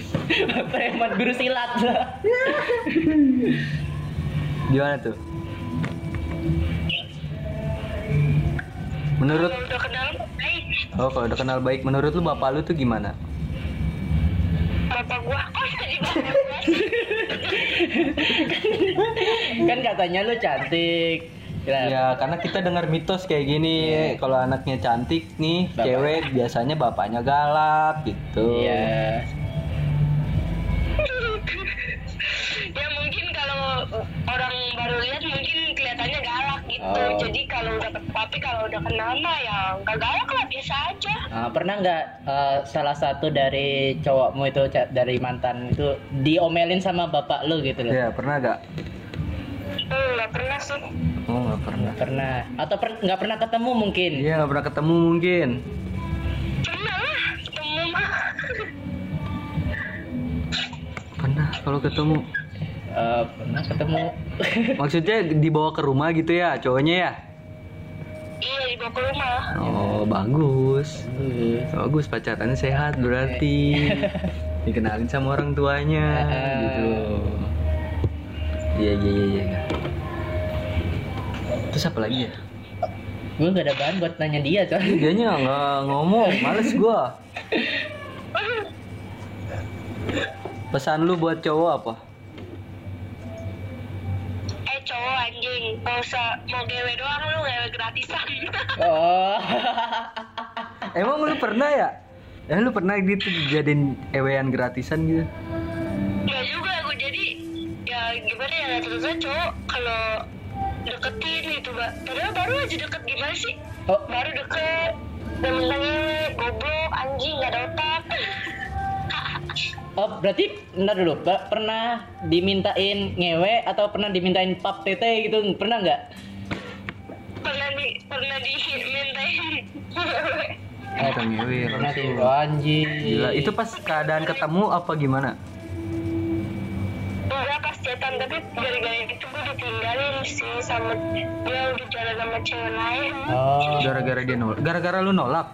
[SPEAKER 2] Preman guru silat.
[SPEAKER 1] Gimana tuh? Menurut
[SPEAKER 3] kalau udah kenal baik
[SPEAKER 1] Oh, kalau udah kenal baik, menurut lu bapak lu tuh gimana?
[SPEAKER 3] bapak gua kok jadi bapak gua sih?
[SPEAKER 2] kan katanya lu cantik. Nah,
[SPEAKER 1] Ya, karena kita dengar mitos kayak gini, kalau anaknya cantik nih,
[SPEAKER 2] Iya. Bapak.
[SPEAKER 1] cewek biasanya bapaknya galak gitu.
[SPEAKER 2] Iya.
[SPEAKER 3] ya mungkin kalau orang baru lihat mungkin kelihatannya galak gitu
[SPEAKER 2] Oh.
[SPEAKER 3] jadi kalau udah tapi kalau udah kenal mah ya nggak galak lah biasa aja
[SPEAKER 2] Ah, pernah nggak eh, salah satu dari cowokmu itu ca- dari mantan itu diomelin sama bapak lu gitu loh?
[SPEAKER 1] Ya, pernah gak?
[SPEAKER 3] Hmm, nggak pernah sih
[SPEAKER 1] Oh, nggak pernah.
[SPEAKER 2] Nggak pernah. Atau per- nggak pernah ketemu mungkin?
[SPEAKER 1] Iya, nggak pernah ketemu mungkin.
[SPEAKER 3] pernah lah ketemu mah
[SPEAKER 1] Pernah kalau ketemu.
[SPEAKER 2] Eh, pernah ketemu.
[SPEAKER 1] Maksudnya dibawa ke rumah gitu ya, cowoknya ya?
[SPEAKER 3] iya dibawa ke rumah
[SPEAKER 1] Oh, bagus. Bagus pacarannya sehat berarti. Dikenalin sama orang tuanya
[SPEAKER 2] Eh.
[SPEAKER 1] gitu. Iya iya iya iya. Terus apa lagi ya?
[SPEAKER 2] Gue nggak ada bahan buat nanya dia coy.
[SPEAKER 1] Ih, Dianya nggak ngomong, males gua. Pesan lu buat cowok apa?
[SPEAKER 3] eh cowok anjing mau se- mau gewe doang lu gewe gratisan
[SPEAKER 2] Oh.
[SPEAKER 1] Emang lu pernah ya? Eh lu pernah gitu dijadiin ewean gratisan gitu?
[SPEAKER 3] nggak juga aku jadi ya gimana ya terusnya cowok kalau deketin gitu mbak padahal baru aja deket gimana sih
[SPEAKER 2] Oh.
[SPEAKER 3] baru deket dan menangis goblok anjing gak ada otak
[SPEAKER 2] Oh, berarti bentar dulu, Ba- pernah dimintain ngewe atau pernah dimintain pap tete gitu, pernah nggak?
[SPEAKER 3] pernah di pernah dimintain
[SPEAKER 1] Bukan ngewe
[SPEAKER 2] Pernah
[SPEAKER 1] langsung.
[SPEAKER 2] sih, Oh, anjing.
[SPEAKER 1] Gila, itu pas keadaan ketemu apa gimana?
[SPEAKER 3] enggak pas jatan tapi gara-gara itu gue ditinggalin sih sama dia udah jalan sama cewek lain
[SPEAKER 2] Oh,
[SPEAKER 1] Gara-gara dia nolak. Gara-gara lu nolak.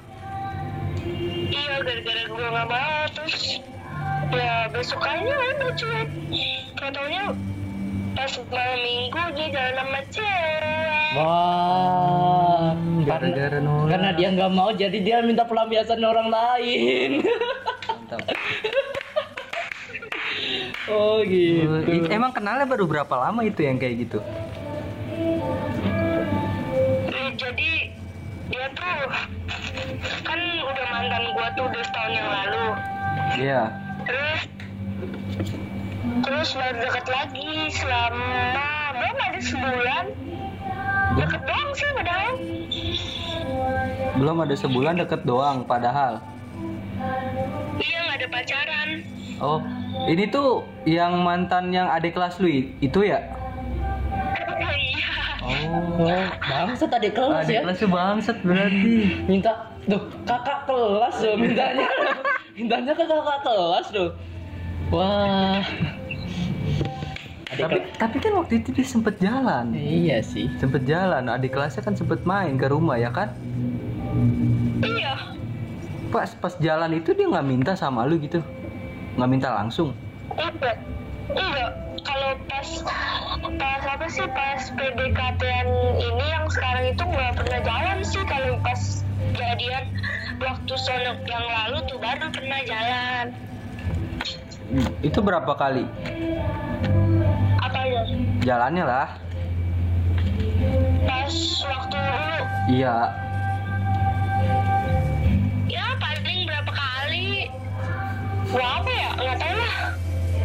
[SPEAKER 3] Iya gara-gara gue gak mau terus ya besokannya udah cuek Katanya pas malam minggu dia jalan sama cewek
[SPEAKER 2] wah. Karena,
[SPEAKER 1] Hmm, Gara-gara nolak.
[SPEAKER 2] karena dia nggak mau, jadi dia minta pelampiasan orang lain.
[SPEAKER 1] Mantap.
[SPEAKER 2] oh
[SPEAKER 1] Eh, Itu
[SPEAKER 2] gitu.
[SPEAKER 1] Emang kenalnya baru berapa lama itu yang kayak gitu?
[SPEAKER 3] Eh, Jadi dia tuh kan udah mantan gue tuh udah setahun yang lalu
[SPEAKER 1] Iya.
[SPEAKER 3] Terus terus baru deket lagi selama belum ada sebulan deket doang sih padahal
[SPEAKER 1] Belum ada sebulan deket doang padahal.
[SPEAKER 3] iya nggak ada pacaran
[SPEAKER 1] Oh, ini tuh yang mantan yang adik kelas lu i- itu ya?
[SPEAKER 3] iya
[SPEAKER 1] Oh.
[SPEAKER 2] Oh, bangsa tadi kelas
[SPEAKER 1] Adik
[SPEAKER 2] ya.
[SPEAKER 1] kelas lu bangset berarti.
[SPEAKER 2] Minta, tuh kakak kelas loh mintanya. mintanya ke kakak kelas loh. Wah. Adik
[SPEAKER 1] tapi tapi kan waktu itu dia sempet jalan.
[SPEAKER 2] Iya sih.
[SPEAKER 1] Sempet jalan, adik kelasnya kan sempet main ke rumah ya kan?
[SPEAKER 3] iya
[SPEAKER 1] Pas pas jalan itu dia nggak minta sama lu gitu. Nggak minta langsung.
[SPEAKER 3] Enggak, enggak. Iya, Kalau pas pas apa sih pas PDKT-an ini yang sekarang itu nggak pernah jalan sih kalau pas jadian waktu sono yang lalu tuh baru pernah jalan.
[SPEAKER 1] Hmm, Itu berapa kali?
[SPEAKER 3] Apa ya?
[SPEAKER 1] Jalannya lah.
[SPEAKER 3] Pas waktu dulu
[SPEAKER 1] Iya.
[SPEAKER 3] ya gua apa ya nggak tahu lah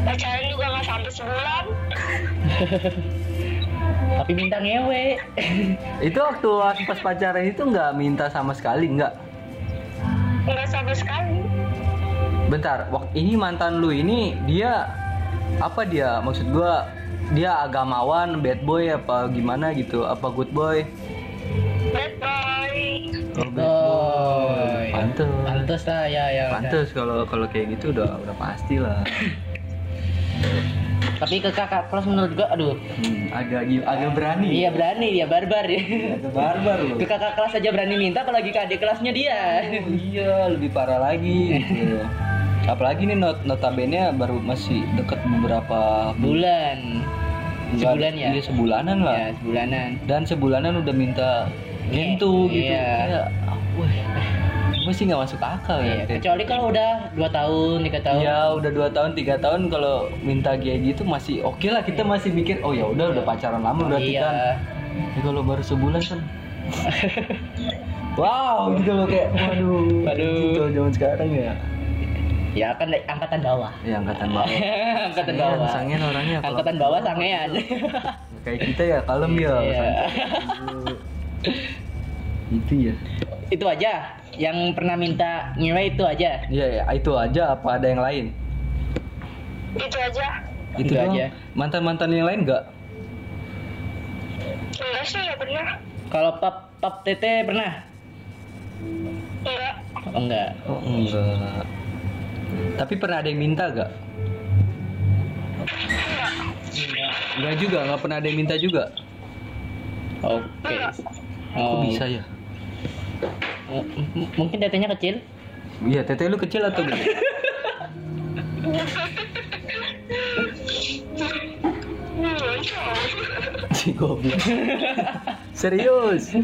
[SPEAKER 3] pacaran juga nggak sampai sebulan
[SPEAKER 2] Tapi minta ngewe.
[SPEAKER 1] Itu waktu pas pacaran itu nggak minta sama sekali nggak?
[SPEAKER 3] nggak sama sekali
[SPEAKER 1] Bentar, waktu ini mantan lu ini dia apa dia? Maksud gua dia agamawan, bad boy apa gimana gitu? Apa good boy?
[SPEAKER 3] bad boy
[SPEAKER 1] Oh,
[SPEAKER 2] Oh, ya.
[SPEAKER 1] Pantes.
[SPEAKER 2] Pantes lah ya ya. udah.
[SPEAKER 1] Pantes kalau kalau kayak gitu udah udah pasti lah.
[SPEAKER 2] Tapi ke kakak kelas menurut gua aduh.
[SPEAKER 1] Hmm, agak gi- agak berani.
[SPEAKER 2] Iya berani dia barbar ya.
[SPEAKER 1] Agak barbar lu.
[SPEAKER 2] Ke kakak kelas aja berani minta apalagi ke adik kelasnya dia.
[SPEAKER 1] Oh, iya, lebih parah lagi. gitu. Apalagi nih not notabene baru masih deket beberapa
[SPEAKER 2] Bulan. Sebulan ya.
[SPEAKER 1] Iya, sebulanan lah.
[SPEAKER 2] Ya, sebulanan.
[SPEAKER 1] Dan sebulanan udah minta nyentuh gitu.
[SPEAKER 2] Iya.
[SPEAKER 1] Kayak, wah, gue sih nggak masuk akal
[SPEAKER 2] Iya,
[SPEAKER 1] ya. Kayak-
[SPEAKER 2] kecuali kalau udah 2 tahun, 3 tahun.
[SPEAKER 1] Iya, udah dua tahun, tiga tahun kalau minta kayak gitu masih oke lah kita masih mikir, oh ya udah udah pacaran lama berarti
[SPEAKER 2] Iya.
[SPEAKER 1] kan. Tapi kalau baru sebulan kan. wow, gitu loh kayak waduh.
[SPEAKER 2] Waduh.
[SPEAKER 1] Gitu zaman sekarang ya.
[SPEAKER 2] Ya kan dari angkatan bawah.
[SPEAKER 1] Ya angkatan bawah.
[SPEAKER 2] angkatan
[SPEAKER 1] Sangean,
[SPEAKER 2] bawah.
[SPEAKER 1] sangean orangnya kalau-
[SPEAKER 2] Angkatan bawah sangean.
[SPEAKER 1] Kayak kita ya kalem ya.
[SPEAKER 2] Iya.
[SPEAKER 1] itu ya.
[SPEAKER 2] itu aja yang pernah minta nyewa itu aja.
[SPEAKER 1] Iya ya, itu aja apa ada yang lain?
[SPEAKER 3] itu aja
[SPEAKER 1] Itu,
[SPEAKER 2] Itu
[SPEAKER 1] doang.
[SPEAKER 2] aja.
[SPEAKER 1] Mantan-mantan yang lain enggak?
[SPEAKER 3] enggak sih ya benar
[SPEAKER 2] Kalau pap pap tete pernah?
[SPEAKER 3] enggak
[SPEAKER 2] Oh, enggak.
[SPEAKER 1] Oh, enggak. Tapi pernah ada yang minta enggak? Enggak juga, enggak pernah ada yang minta juga.
[SPEAKER 2] Oke.
[SPEAKER 1] Kok
[SPEAKER 2] Oh,
[SPEAKER 1] bisa ya?
[SPEAKER 2] M- m- mungkin datanya kecil.
[SPEAKER 1] Iya, teteh lu kecil atau gede?
[SPEAKER 3] hmm, lucu.
[SPEAKER 1] Si goblok. Serius.
[SPEAKER 3] Tuh,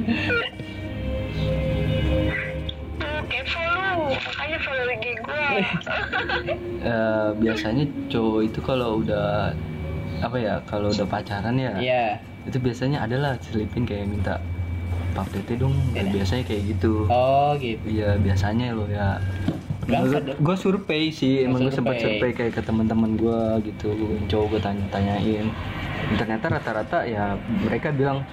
[SPEAKER 3] kepo lu makanya follow IG gua
[SPEAKER 1] Eh, biasanya cowok itu kalau udah apa ya kalau udah pacaran ya
[SPEAKER 2] Iya.
[SPEAKER 1] itu biasanya adalah selipin kayak minta pap tete dong Dan biasanya kayak gitu
[SPEAKER 2] Oh, gitu.
[SPEAKER 1] iya biasanya lo ya
[SPEAKER 2] Bangsat.
[SPEAKER 1] gue survei sih emang gue sempat survei
[SPEAKER 2] Survei.
[SPEAKER 1] kayak ke teman-teman gue gitu yang cowok gue tanya-tanyain Dan ternyata rata-rata ya mereka bilang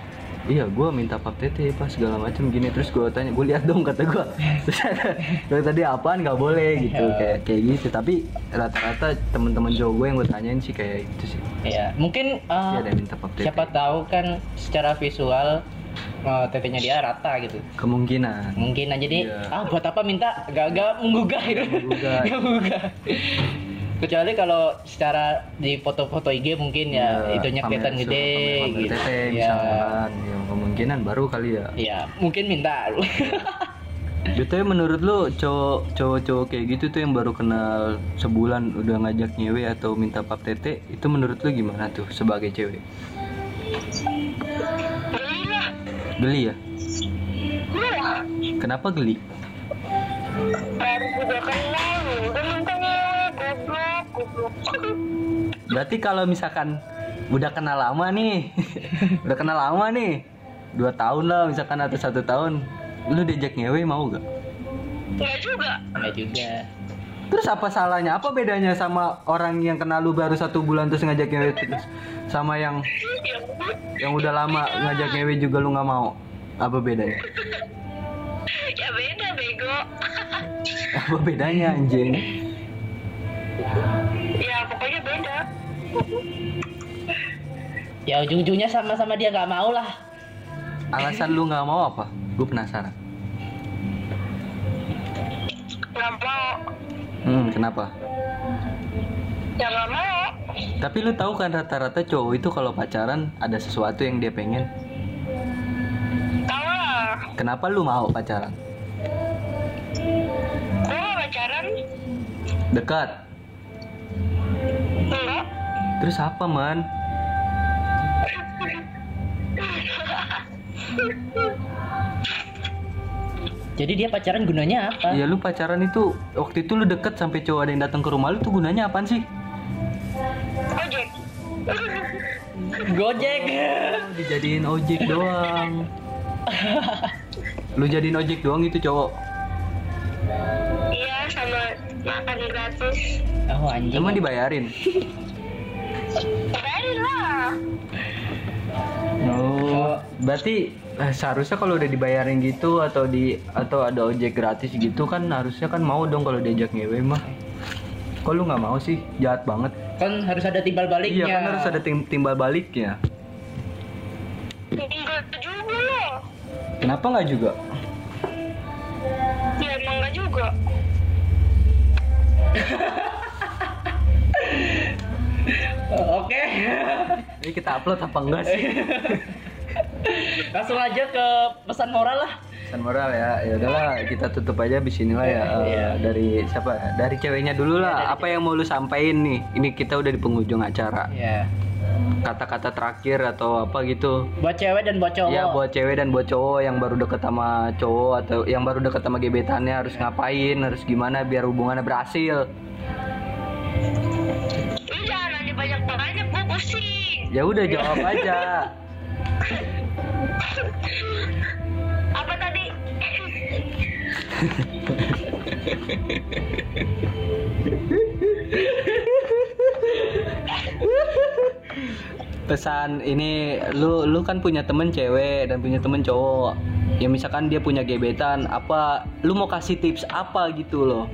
[SPEAKER 1] iya gue minta pap tete pas segala macam gini terus gue tanya gue lihat dong kata gue terus ada, "Dari tadi apaan nggak boleh gitu
[SPEAKER 2] Iya.
[SPEAKER 1] kayak kayak gitu tapi rata-rata teman-teman cowok gue yang gue tanyain sih kayak itu sih
[SPEAKER 2] Iya. Mungkin eh,
[SPEAKER 1] Iya, ada yang minta pap tete
[SPEAKER 2] siapa tahu kan secara visual eh, tetenya dia rata gitu.
[SPEAKER 1] kemungkinan
[SPEAKER 2] Mungkin aja nih,
[SPEAKER 1] Iya.
[SPEAKER 2] ah buat apa minta gak menggugah gitu.
[SPEAKER 1] menggugah.
[SPEAKER 2] Nggak menggugah. Kecuali kalau secara di foto-foto IG mungkin
[SPEAKER 1] Iya,
[SPEAKER 2] ya, itunya
[SPEAKER 1] pamer-
[SPEAKER 2] kelihatan gede
[SPEAKER 1] pamer- pamer
[SPEAKER 2] gitu.
[SPEAKER 1] tete
[SPEAKER 2] Iya.
[SPEAKER 1] misalkan ya kemungkinan baru kali ya
[SPEAKER 2] Iya, mungkin minta.
[SPEAKER 1] BTW Ya, menurut lo cowok cowok cowok kayak gitu tuh yang baru kenal sebulan udah ngajak nyewe atau minta pap tete itu menurut lo gimana tuh sebagai cewek
[SPEAKER 3] belilah
[SPEAKER 1] geli ya
[SPEAKER 3] gua
[SPEAKER 1] kenapa geli
[SPEAKER 3] baru juga kenal lu udah minta nyewa goblok goblok
[SPEAKER 1] berarti kalau misalkan udah kenal lama nih udah kenal lama nih dua tahun lah misalkan atau satu tahun lu diajak nyewe mau gak
[SPEAKER 3] enggak juga
[SPEAKER 2] Enggak juga.
[SPEAKER 1] Terus apa salahnya? Apa bedanya sama orang yang kenal lu baru satu bulan terus ngajak ngewe terus sama yang
[SPEAKER 3] ya udah.
[SPEAKER 1] yang udah lama ngajak ngewe juga lu nggak mau? Apa bedanya?
[SPEAKER 3] ya beda bego
[SPEAKER 1] Apa bedanya anjing?
[SPEAKER 3] ya pokoknya beda
[SPEAKER 2] Ya ujung-ujungnya sama-sama dia nggak mau lah.
[SPEAKER 1] Alasan lu nggak mau apa? Gue penasaran.
[SPEAKER 3] nggak mau
[SPEAKER 1] Hmm, kenapa?
[SPEAKER 3] ya nggak mau
[SPEAKER 1] Tapi lu tahu kan rata-rata cowok itu kalau pacaran ada sesuatu yang dia pengen.
[SPEAKER 3] tahu lah
[SPEAKER 1] Kenapa lu mau pacaran?
[SPEAKER 3] gua nggak pacaran
[SPEAKER 1] Dekat.
[SPEAKER 3] enggak
[SPEAKER 1] Terus apa, man?
[SPEAKER 2] Jadi dia pacaran gunanya apa?
[SPEAKER 1] Ya lu pacaran itu waktu itu lu deket sampai cowok ada yang datang ke rumah lu tuh gunanya apaan sih?
[SPEAKER 3] ojek
[SPEAKER 2] Gojek.
[SPEAKER 1] dijadiin ojek doang gitu, lu jadiin ojek doang itu cowok
[SPEAKER 3] iya sama makan gratis
[SPEAKER 2] Oh anjing.
[SPEAKER 1] Emang dibayarin?
[SPEAKER 3] bayarin lah
[SPEAKER 1] Oh, berarti eh, seharusnya kalau udah dibayarin gitu atau di atau ada ojek gratis gitu kan harusnya kan mau dong kalau diajak ngewe mah. Kok lu nggak mau sih? Jahat banget.
[SPEAKER 2] Kan harus ada timbal
[SPEAKER 1] Iya
[SPEAKER 2] baliknya.
[SPEAKER 1] kan harus ada tim- timbal baliknya.
[SPEAKER 3] enggak juga loh
[SPEAKER 1] Kenapa nggak juga?
[SPEAKER 3] ya emang enggak juga
[SPEAKER 2] Oh, Oke.
[SPEAKER 1] Ini kita upload apa enggak sih?
[SPEAKER 2] Langsung aja ke pesan moral lah.
[SPEAKER 1] Pesan moral ya, ya udahlah kita tutup aja abis inilah ya eh,
[SPEAKER 2] Iya.
[SPEAKER 1] dari siapa? Dari ceweknya dulu
[SPEAKER 2] Iya,
[SPEAKER 1] lah.
[SPEAKER 2] dari
[SPEAKER 1] Apa yang mau lu sampein nih? Ini kita udah di penghujung acara.
[SPEAKER 2] Iya.
[SPEAKER 1] Kata-kata terakhir atau apa gitu?
[SPEAKER 2] Buat cewek dan buat cowok.
[SPEAKER 1] Iya buat cewek dan buat cowok yang baru deket sama cowok atau yang baru deket sama gebetannya harus ngapain, harus gimana biar hubungannya berhasil.
[SPEAKER 3] lu jangan nanya banyak banyak gue pusing
[SPEAKER 1] Ya udah jawab aja.
[SPEAKER 3] apa tadi
[SPEAKER 1] Pesan ini lu lu kan punya temen cewek dan punya temen cowok. Ya misalkan dia punya gebetan, apa lu mau kasih tips apa gitu loh.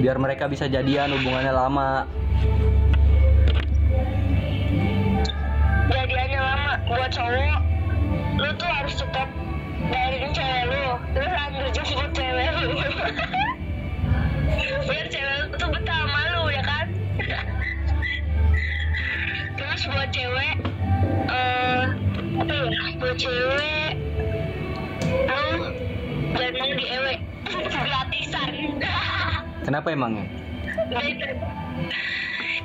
[SPEAKER 1] Biar mereka bisa jadian hubungannya lama.
[SPEAKER 3] jadiannya lama buat cowok lu tuh harus tetap bayarin cewek lu lu harus jemput cewek lu biar cewek lu tuh betah sama lu ya kan terus buat cewek eh apa ya buat cewek lu jangan mau di ewe gratisan
[SPEAKER 1] Kenapa emangnya?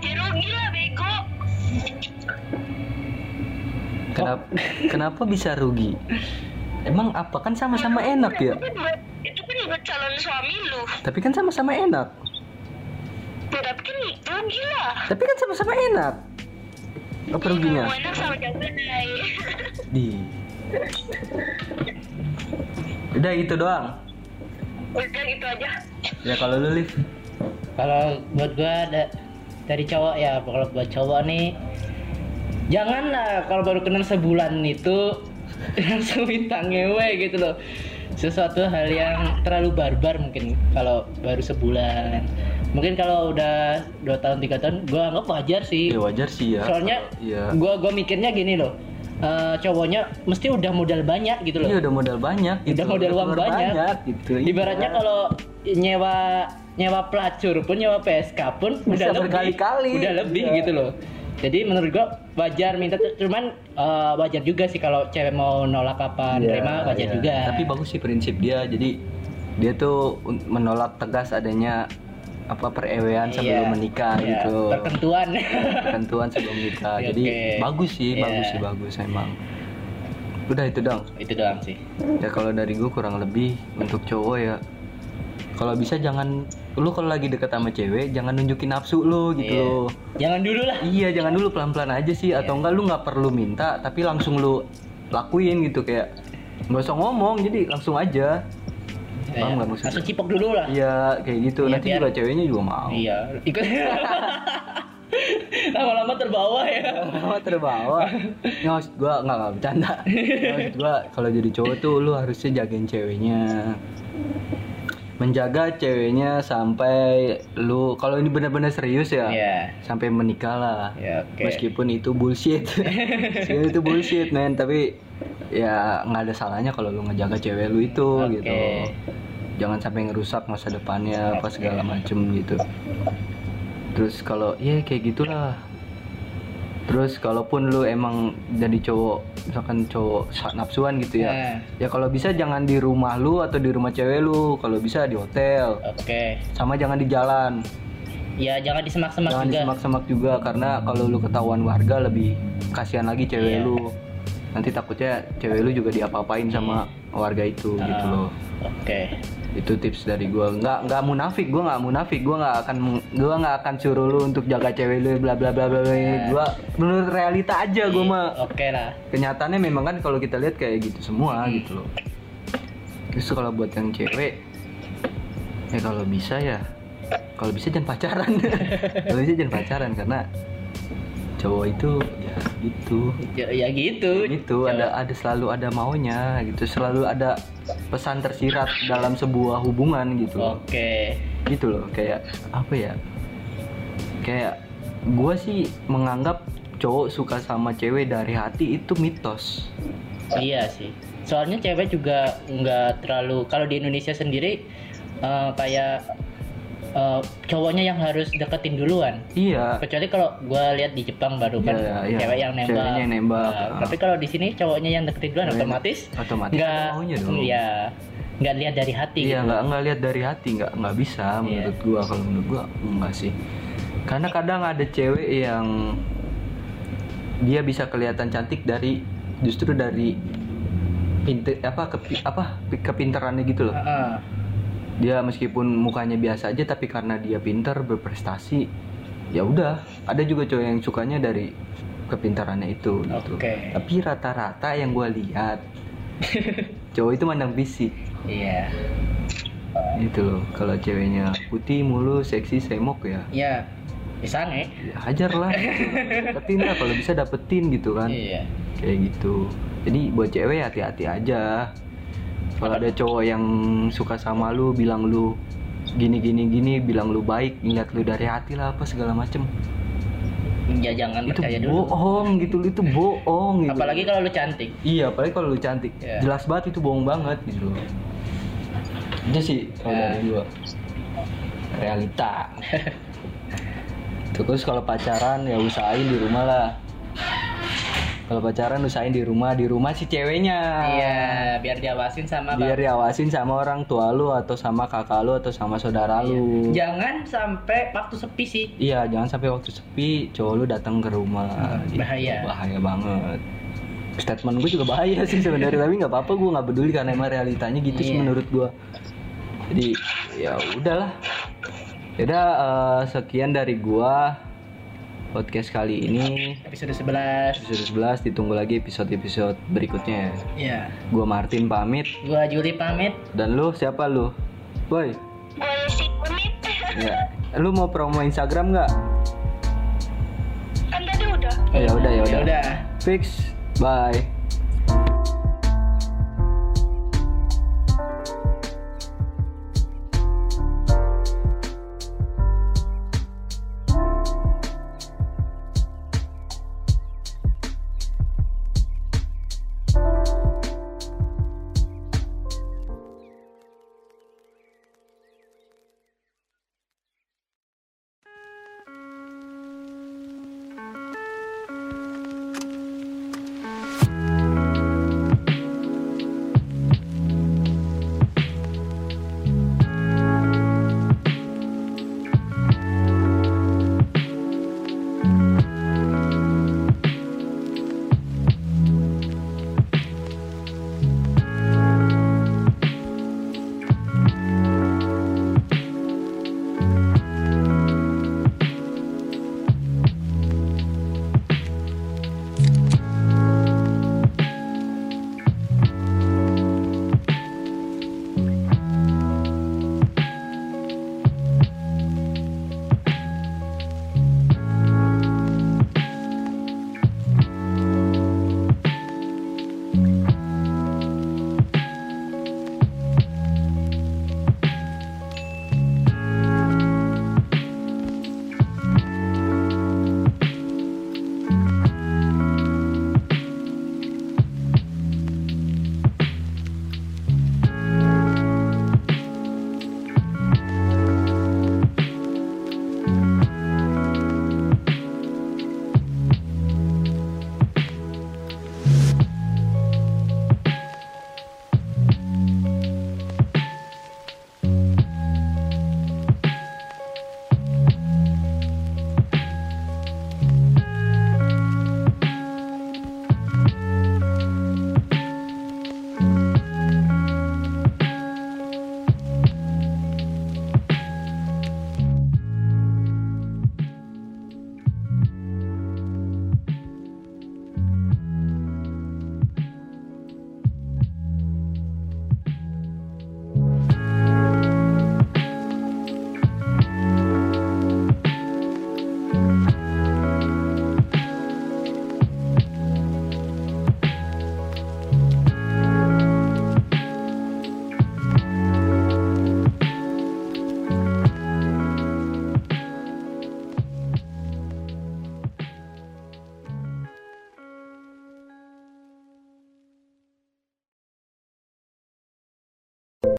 [SPEAKER 3] ya rugi lah bego
[SPEAKER 1] Kenapa kenapa bisa rugi? Emang apa kan sama-sama enak ya?
[SPEAKER 3] Itu kan buat- itu kan buat calon suami lu
[SPEAKER 1] Tapi kan sama-sama enak.
[SPEAKER 3] Tidak kan rugi lah.
[SPEAKER 1] Tapi kan sama-sama enak. Apa ruginya?
[SPEAKER 3] Mau enak sama ya. jagoan lain.
[SPEAKER 1] Di. Udah itu doang.
[SPEAKER 3] Udah gitu aja.
[SPEAKER 1] Ya kalau lu live
[SPEAKER 2] Kalau buat gua da- dari cowok ya, kalau buat cowok nih jangan lah kalau baru kenal sebulan itu langsung minta ngewe gitu loh. Sesuatu hal yang terlalu barbar mungkin kalau baru sebulan. Mungkin kalau udah dua tahun tiga tahun gua anggap wajar sih.
[SPEAKER 1] ya wajar sih ya.
[SPEAKER 2] Iya. Soalnya
[SPEAKER 1] Iya.
[SPEAKER 2] gua gua mikirnya gini loh. eh, cowoknya mesti udah modal banyak gitu loh.
[SPEAKER 1] Iya udah modal banyak gitu.
[SPEAKER 2] Udah modal uang
[SPEAKER 1] keluar
[SPEAKER 2] banyak.
[SPEAKER 1] gitu.
[SPEAKER 2] Ibaratnya
[SPEAKER 1] Iya.
[SPEAKER 2] kalau nyewa nyewa pelacur pun nyewa PSK pun
[SPEAKER 1] Bisa
[SPEAKER 2] udah
[SPEAKER 1] berkali-kali.
[SPEAKER 2] lebih, udah lebih
[SPEAKER 1] Iya.
[SPEAKER 2] gitu loh. Jadi menurut gua wajar minta cuman eh, wajar juga sih kalau cewek mau nolak
[SPEAKER 1] Iya,
[SPEAKER 2] apa nerima wajar
[SPEAKER 1] iya.
[SPEAKER 2] kan, juga.
[SPEAKER 1] Tapi bagus sih prinsip dia. Jadi dia tuh un- menolak tegas adanya apa perewean sebelum
[SPEAKER 2] Iya.
[SPEAKER 1] menikah
[SPEAKER 2] Iya,
[SPEAKER 1] gitu.
[SPEAKER 2] Pertentuan.
[SPEAKER 1] Ketentuan sebelum menikah.
[SPEAKER 2] Oke,
[SPEAKER 1] Jadi
[SPEAKER 2] oke.
[SPEAKER 1] bagus sih,
[SPEAKER 2] Iya.
[SPEAKER 1] bagus sih bagus emang. Udah itu dong.
[SPEAKER 2] itu doang sih.
[SPEAKER 1] ya kalau dari gue kurang lebih untuk cowok ya kalau bisa jangan lu kalau lagi deket sama cewek jangan nunjukin nafsu lu gitu
[SPEAKER 2] Iya.
[SPEAKER 1] loh
[SPEAKER 2] Jangan dulu lah.
[SPEAKER 1] iya jangan dulu pelan pelan aja sih atau enggak lu nggak perlu minta tapi langsung lu lakuin gitu kayak nggak usah ngomong jadi langsung aja Paham nggak maksudnya?
[SPEAKER 2] Iya. Langsung cipok dulu lah.
[SPEAKER 1] iya kayak gitu
[SPEAKER 2] Iya,
[SPEAKER 1] nanti
[SPEAKER 2] biar-
[SPEAKER 1] juga ceweknya juga mau
[SPEAKER 2] Iya, ikut. Lama-lama terbawa ya.
[SPEAKER 1] Lama terbawa nggak maksud gue nggak nggak bercanda Nggak, maksud gue kalau jadi cowok tuh lu harusnya jagain ceweknya menjaga ceweknya sampai lu kalau ini benar-benar serius ya
[SPEAKER 2] Iya.
[SPEAKER 1] sampai menikah lah
[SPEAKER 2] Ya, oke.
[SPEAKER 1] meskipun itu bullshit meskipun itu bullshit men tapi ya nggak ada salahnya kalau lu ngejaga cewek lu itu
[SPEAKER 2] Oke.
[SPEAKER 1] gitu jangan sampai ngerusak masa depannya apa
[SPEAKER 2] Oke.
[SPEAKER 1] segala macem gitu terus kalau ya kayak gitulah terus kalaupun lu emang jadi cowok misalkan cowok sa- nafsuan gitu ya
[SPEAKER 2] Eh.
[SPEAKER 1] ya kalau bisa jangan di rumah lu atau di rumah cewek lu kalau bisa di hotel
[SPEAKER 2] Oke.
[SPEAKER 1] sama jangan di jalan
[SPEAKER 2] Ya jangan disemak-semak
[SPEAKER 1] jangan
[SPEAKER 2] juga.
[SPEAKER 1] disemak-semak juga karena kalau lu ketahuan warga lebih kasihan lagi cewek
[SPEAKER 2] Iya.
[SPEAKER 1] lu nanti takutnya cewek lu juga diapa-apain sama warga itu gitu
[SPEAKER 2] Ah,
[SPEAKER 1] loh
[SPEAKER 2] Oke.
[SPEAKER 1] itu tips dari gua nggak nggak munafik gua nggak munafik gua nggak akan gua nggak akan suruh lu untuk jaga cewek lu bla bla bla bla bla
[SPEAKER 2] Iya.
[SPEAKER 1] gua menurut realita aja gua mah
[SPEAKER 2] Oke lah.
[SPEAKER 1] kenyataannya memang kan kalau kita lihat kayak gitu semua gitu loh terus kalau buat yang cewek ya kalau bisa ya kalau bisa jangan pacaran kalau bisa jangan pacaran karena cowok itu ya gitu
[SPEAKER 2] ya, ya gitu
[SPEAKER 1] gitu ada ada selalu ada maunya gitu selalu ada pesan tersirat dalam sebuah hubungan gitu
[SPEAKER 2] oke
[SPEAKER 1] gitu loh kayak apa ya kayak gua sih menganggap cowok suka sama cewek dari hati itu mitos
[SPEAKER 2] Iya sih. Soalnya cewek juga nggak terlalu kalau di Indonesia sendiri eh, kayak eh, cowoknya yang harus deketin duluan.
[SPEAKER 1] iya
[SPEAKER 2] Kecuali kalau gua lihat di Jepang baru kan
[SPEAKER 1] Iya, iya.
[SPEAKER 2] cewek yang nembak.
[SPEAKER 1] Ceweknya yang nembak. Ah.
[SPEAKER 2] Nah, tapi kalau di sini cowoknya yang deketin duluan
[SPEAKER 1] Cewek-
[SPEAKER 2] otomatis
[SPEAKER 1] otomatis
[SPEAKER 2] nggak
[SPEAKER 1] ada maunya dong
[SPEAKER 2] Iya. Nggak lihat dari hati
[SPEAKER 1] iya
[SPEAKER 2] gitu.
[SPEAKER 1] nggak nggak lihat dari hati nggak nggak bisa menurut gua kalau menurut gua enggak sih karena kadang ada cewek yang dia bisa kelihatan cantik dari justru dari pinter apa kepi- apa kepintarannya gitu loh
[SPEAKER 2] Heeh.
[SPEAKER 1] dia meskipun mukanya biasa aja tapi karena dia pinter berprestasi ya udah ada juga cowok yang sukanya dari kepintarannya itu gitu.
[SPEAKER 2] Oke.
[SPEAKER 1] tapi rata-rata yang gue lihat cowok itu mandang fisik
[SPEAKER 2] Iya.
[SPEAKER 1] gitu loh kalau ceweknya putih mulu seksi semok ya
[SPEAKER 2] Iya. eh. Misalnya.
[SPEAKER 1] ya hajar lah deketin lah kalau bisa dapetin gitu kan
[SPEAKER 2] Iya.
[SPEAKER 1] kayak gitu jadi buat cewek hati-hati aja kalau ada cowok yang suka sama lu bilang lu gini gini gini bilang lu baik ngeliat lu dari hati lah apa segala macem
[SPEAKER 2] Ya jangan
[SPEAKER 1] itu
[SPEAKER 2] percaya dulu.
[SPEAKER 1] bohong gitu lu itu bohong gitu
[SPEAKER 2] Apalagi kalau lu cantik.
[SPEAKER 1] iya apalagi kalau lu cantik
[SPEAKER 2] Iya.
[SPEAKER 1] jelas banget itu bohong banget gitu loh itu sih kalau
[SPEAKER 2] Iya.
[SPEAKER 1] dari gua realita terus kalau pacaran ya usahain di rumah lah kalau pacaran usahain di rumah di rumah si ceweknya
[SPEAKER 2] Iya, biar diawasin sama
[SPEAKER 1] Ah. biar diawasin sama orang tua lu atau sama kakak lu atau sama
[SPEAKER 2] Iya.
[SPEAKER 1] saudara lu
[SPEAKER 2] Jangan sampai waktu sepi sih.
[SPEAKER 1] iya jangan sampai waktu sepi cowok lu datang ke rumah
[SPEAKER 2] Hmm,
[SPEAKER 1] Gitu,
[SPEAKER 2] bahaya.
[SPEAKER 1] bahaya banget statement gue juga bahaya sih sebenarnya tapi nggak apa-apa gue nggak peduli karena emang realitanya gitu sih
[SPEAKER 2] Iya.
[SPEAKER 1] menurut gue jadi ya udahlah Yaudah, eh, sekian dari gua podcast kali ini
[SPEAKER 2] Episode 11.
[SPEAKER 1] episode 11 ditunggu lagi episode-episode berikutnya
[SPEAKER 2] Iya.
[SPEAKER 1] gua Martin pamit
[SPEAKER 2] Gua Juli pamit.
[SPEAKER 1] dan lu siapa lu
[SPEAKER 3] Gue
[SPEAKER 1] boy
[SPEAKER 3] isi pamit.
[SPEAKER 1] Ya. Lu mau promo Instagram nggak?
[SPEAKER 3] kan tadi udah.
[SPEAKER 1] Ya udah ya udah.
[SPEAKER 2] Yaudah.
[SPEAKER 1] Fix. Bye.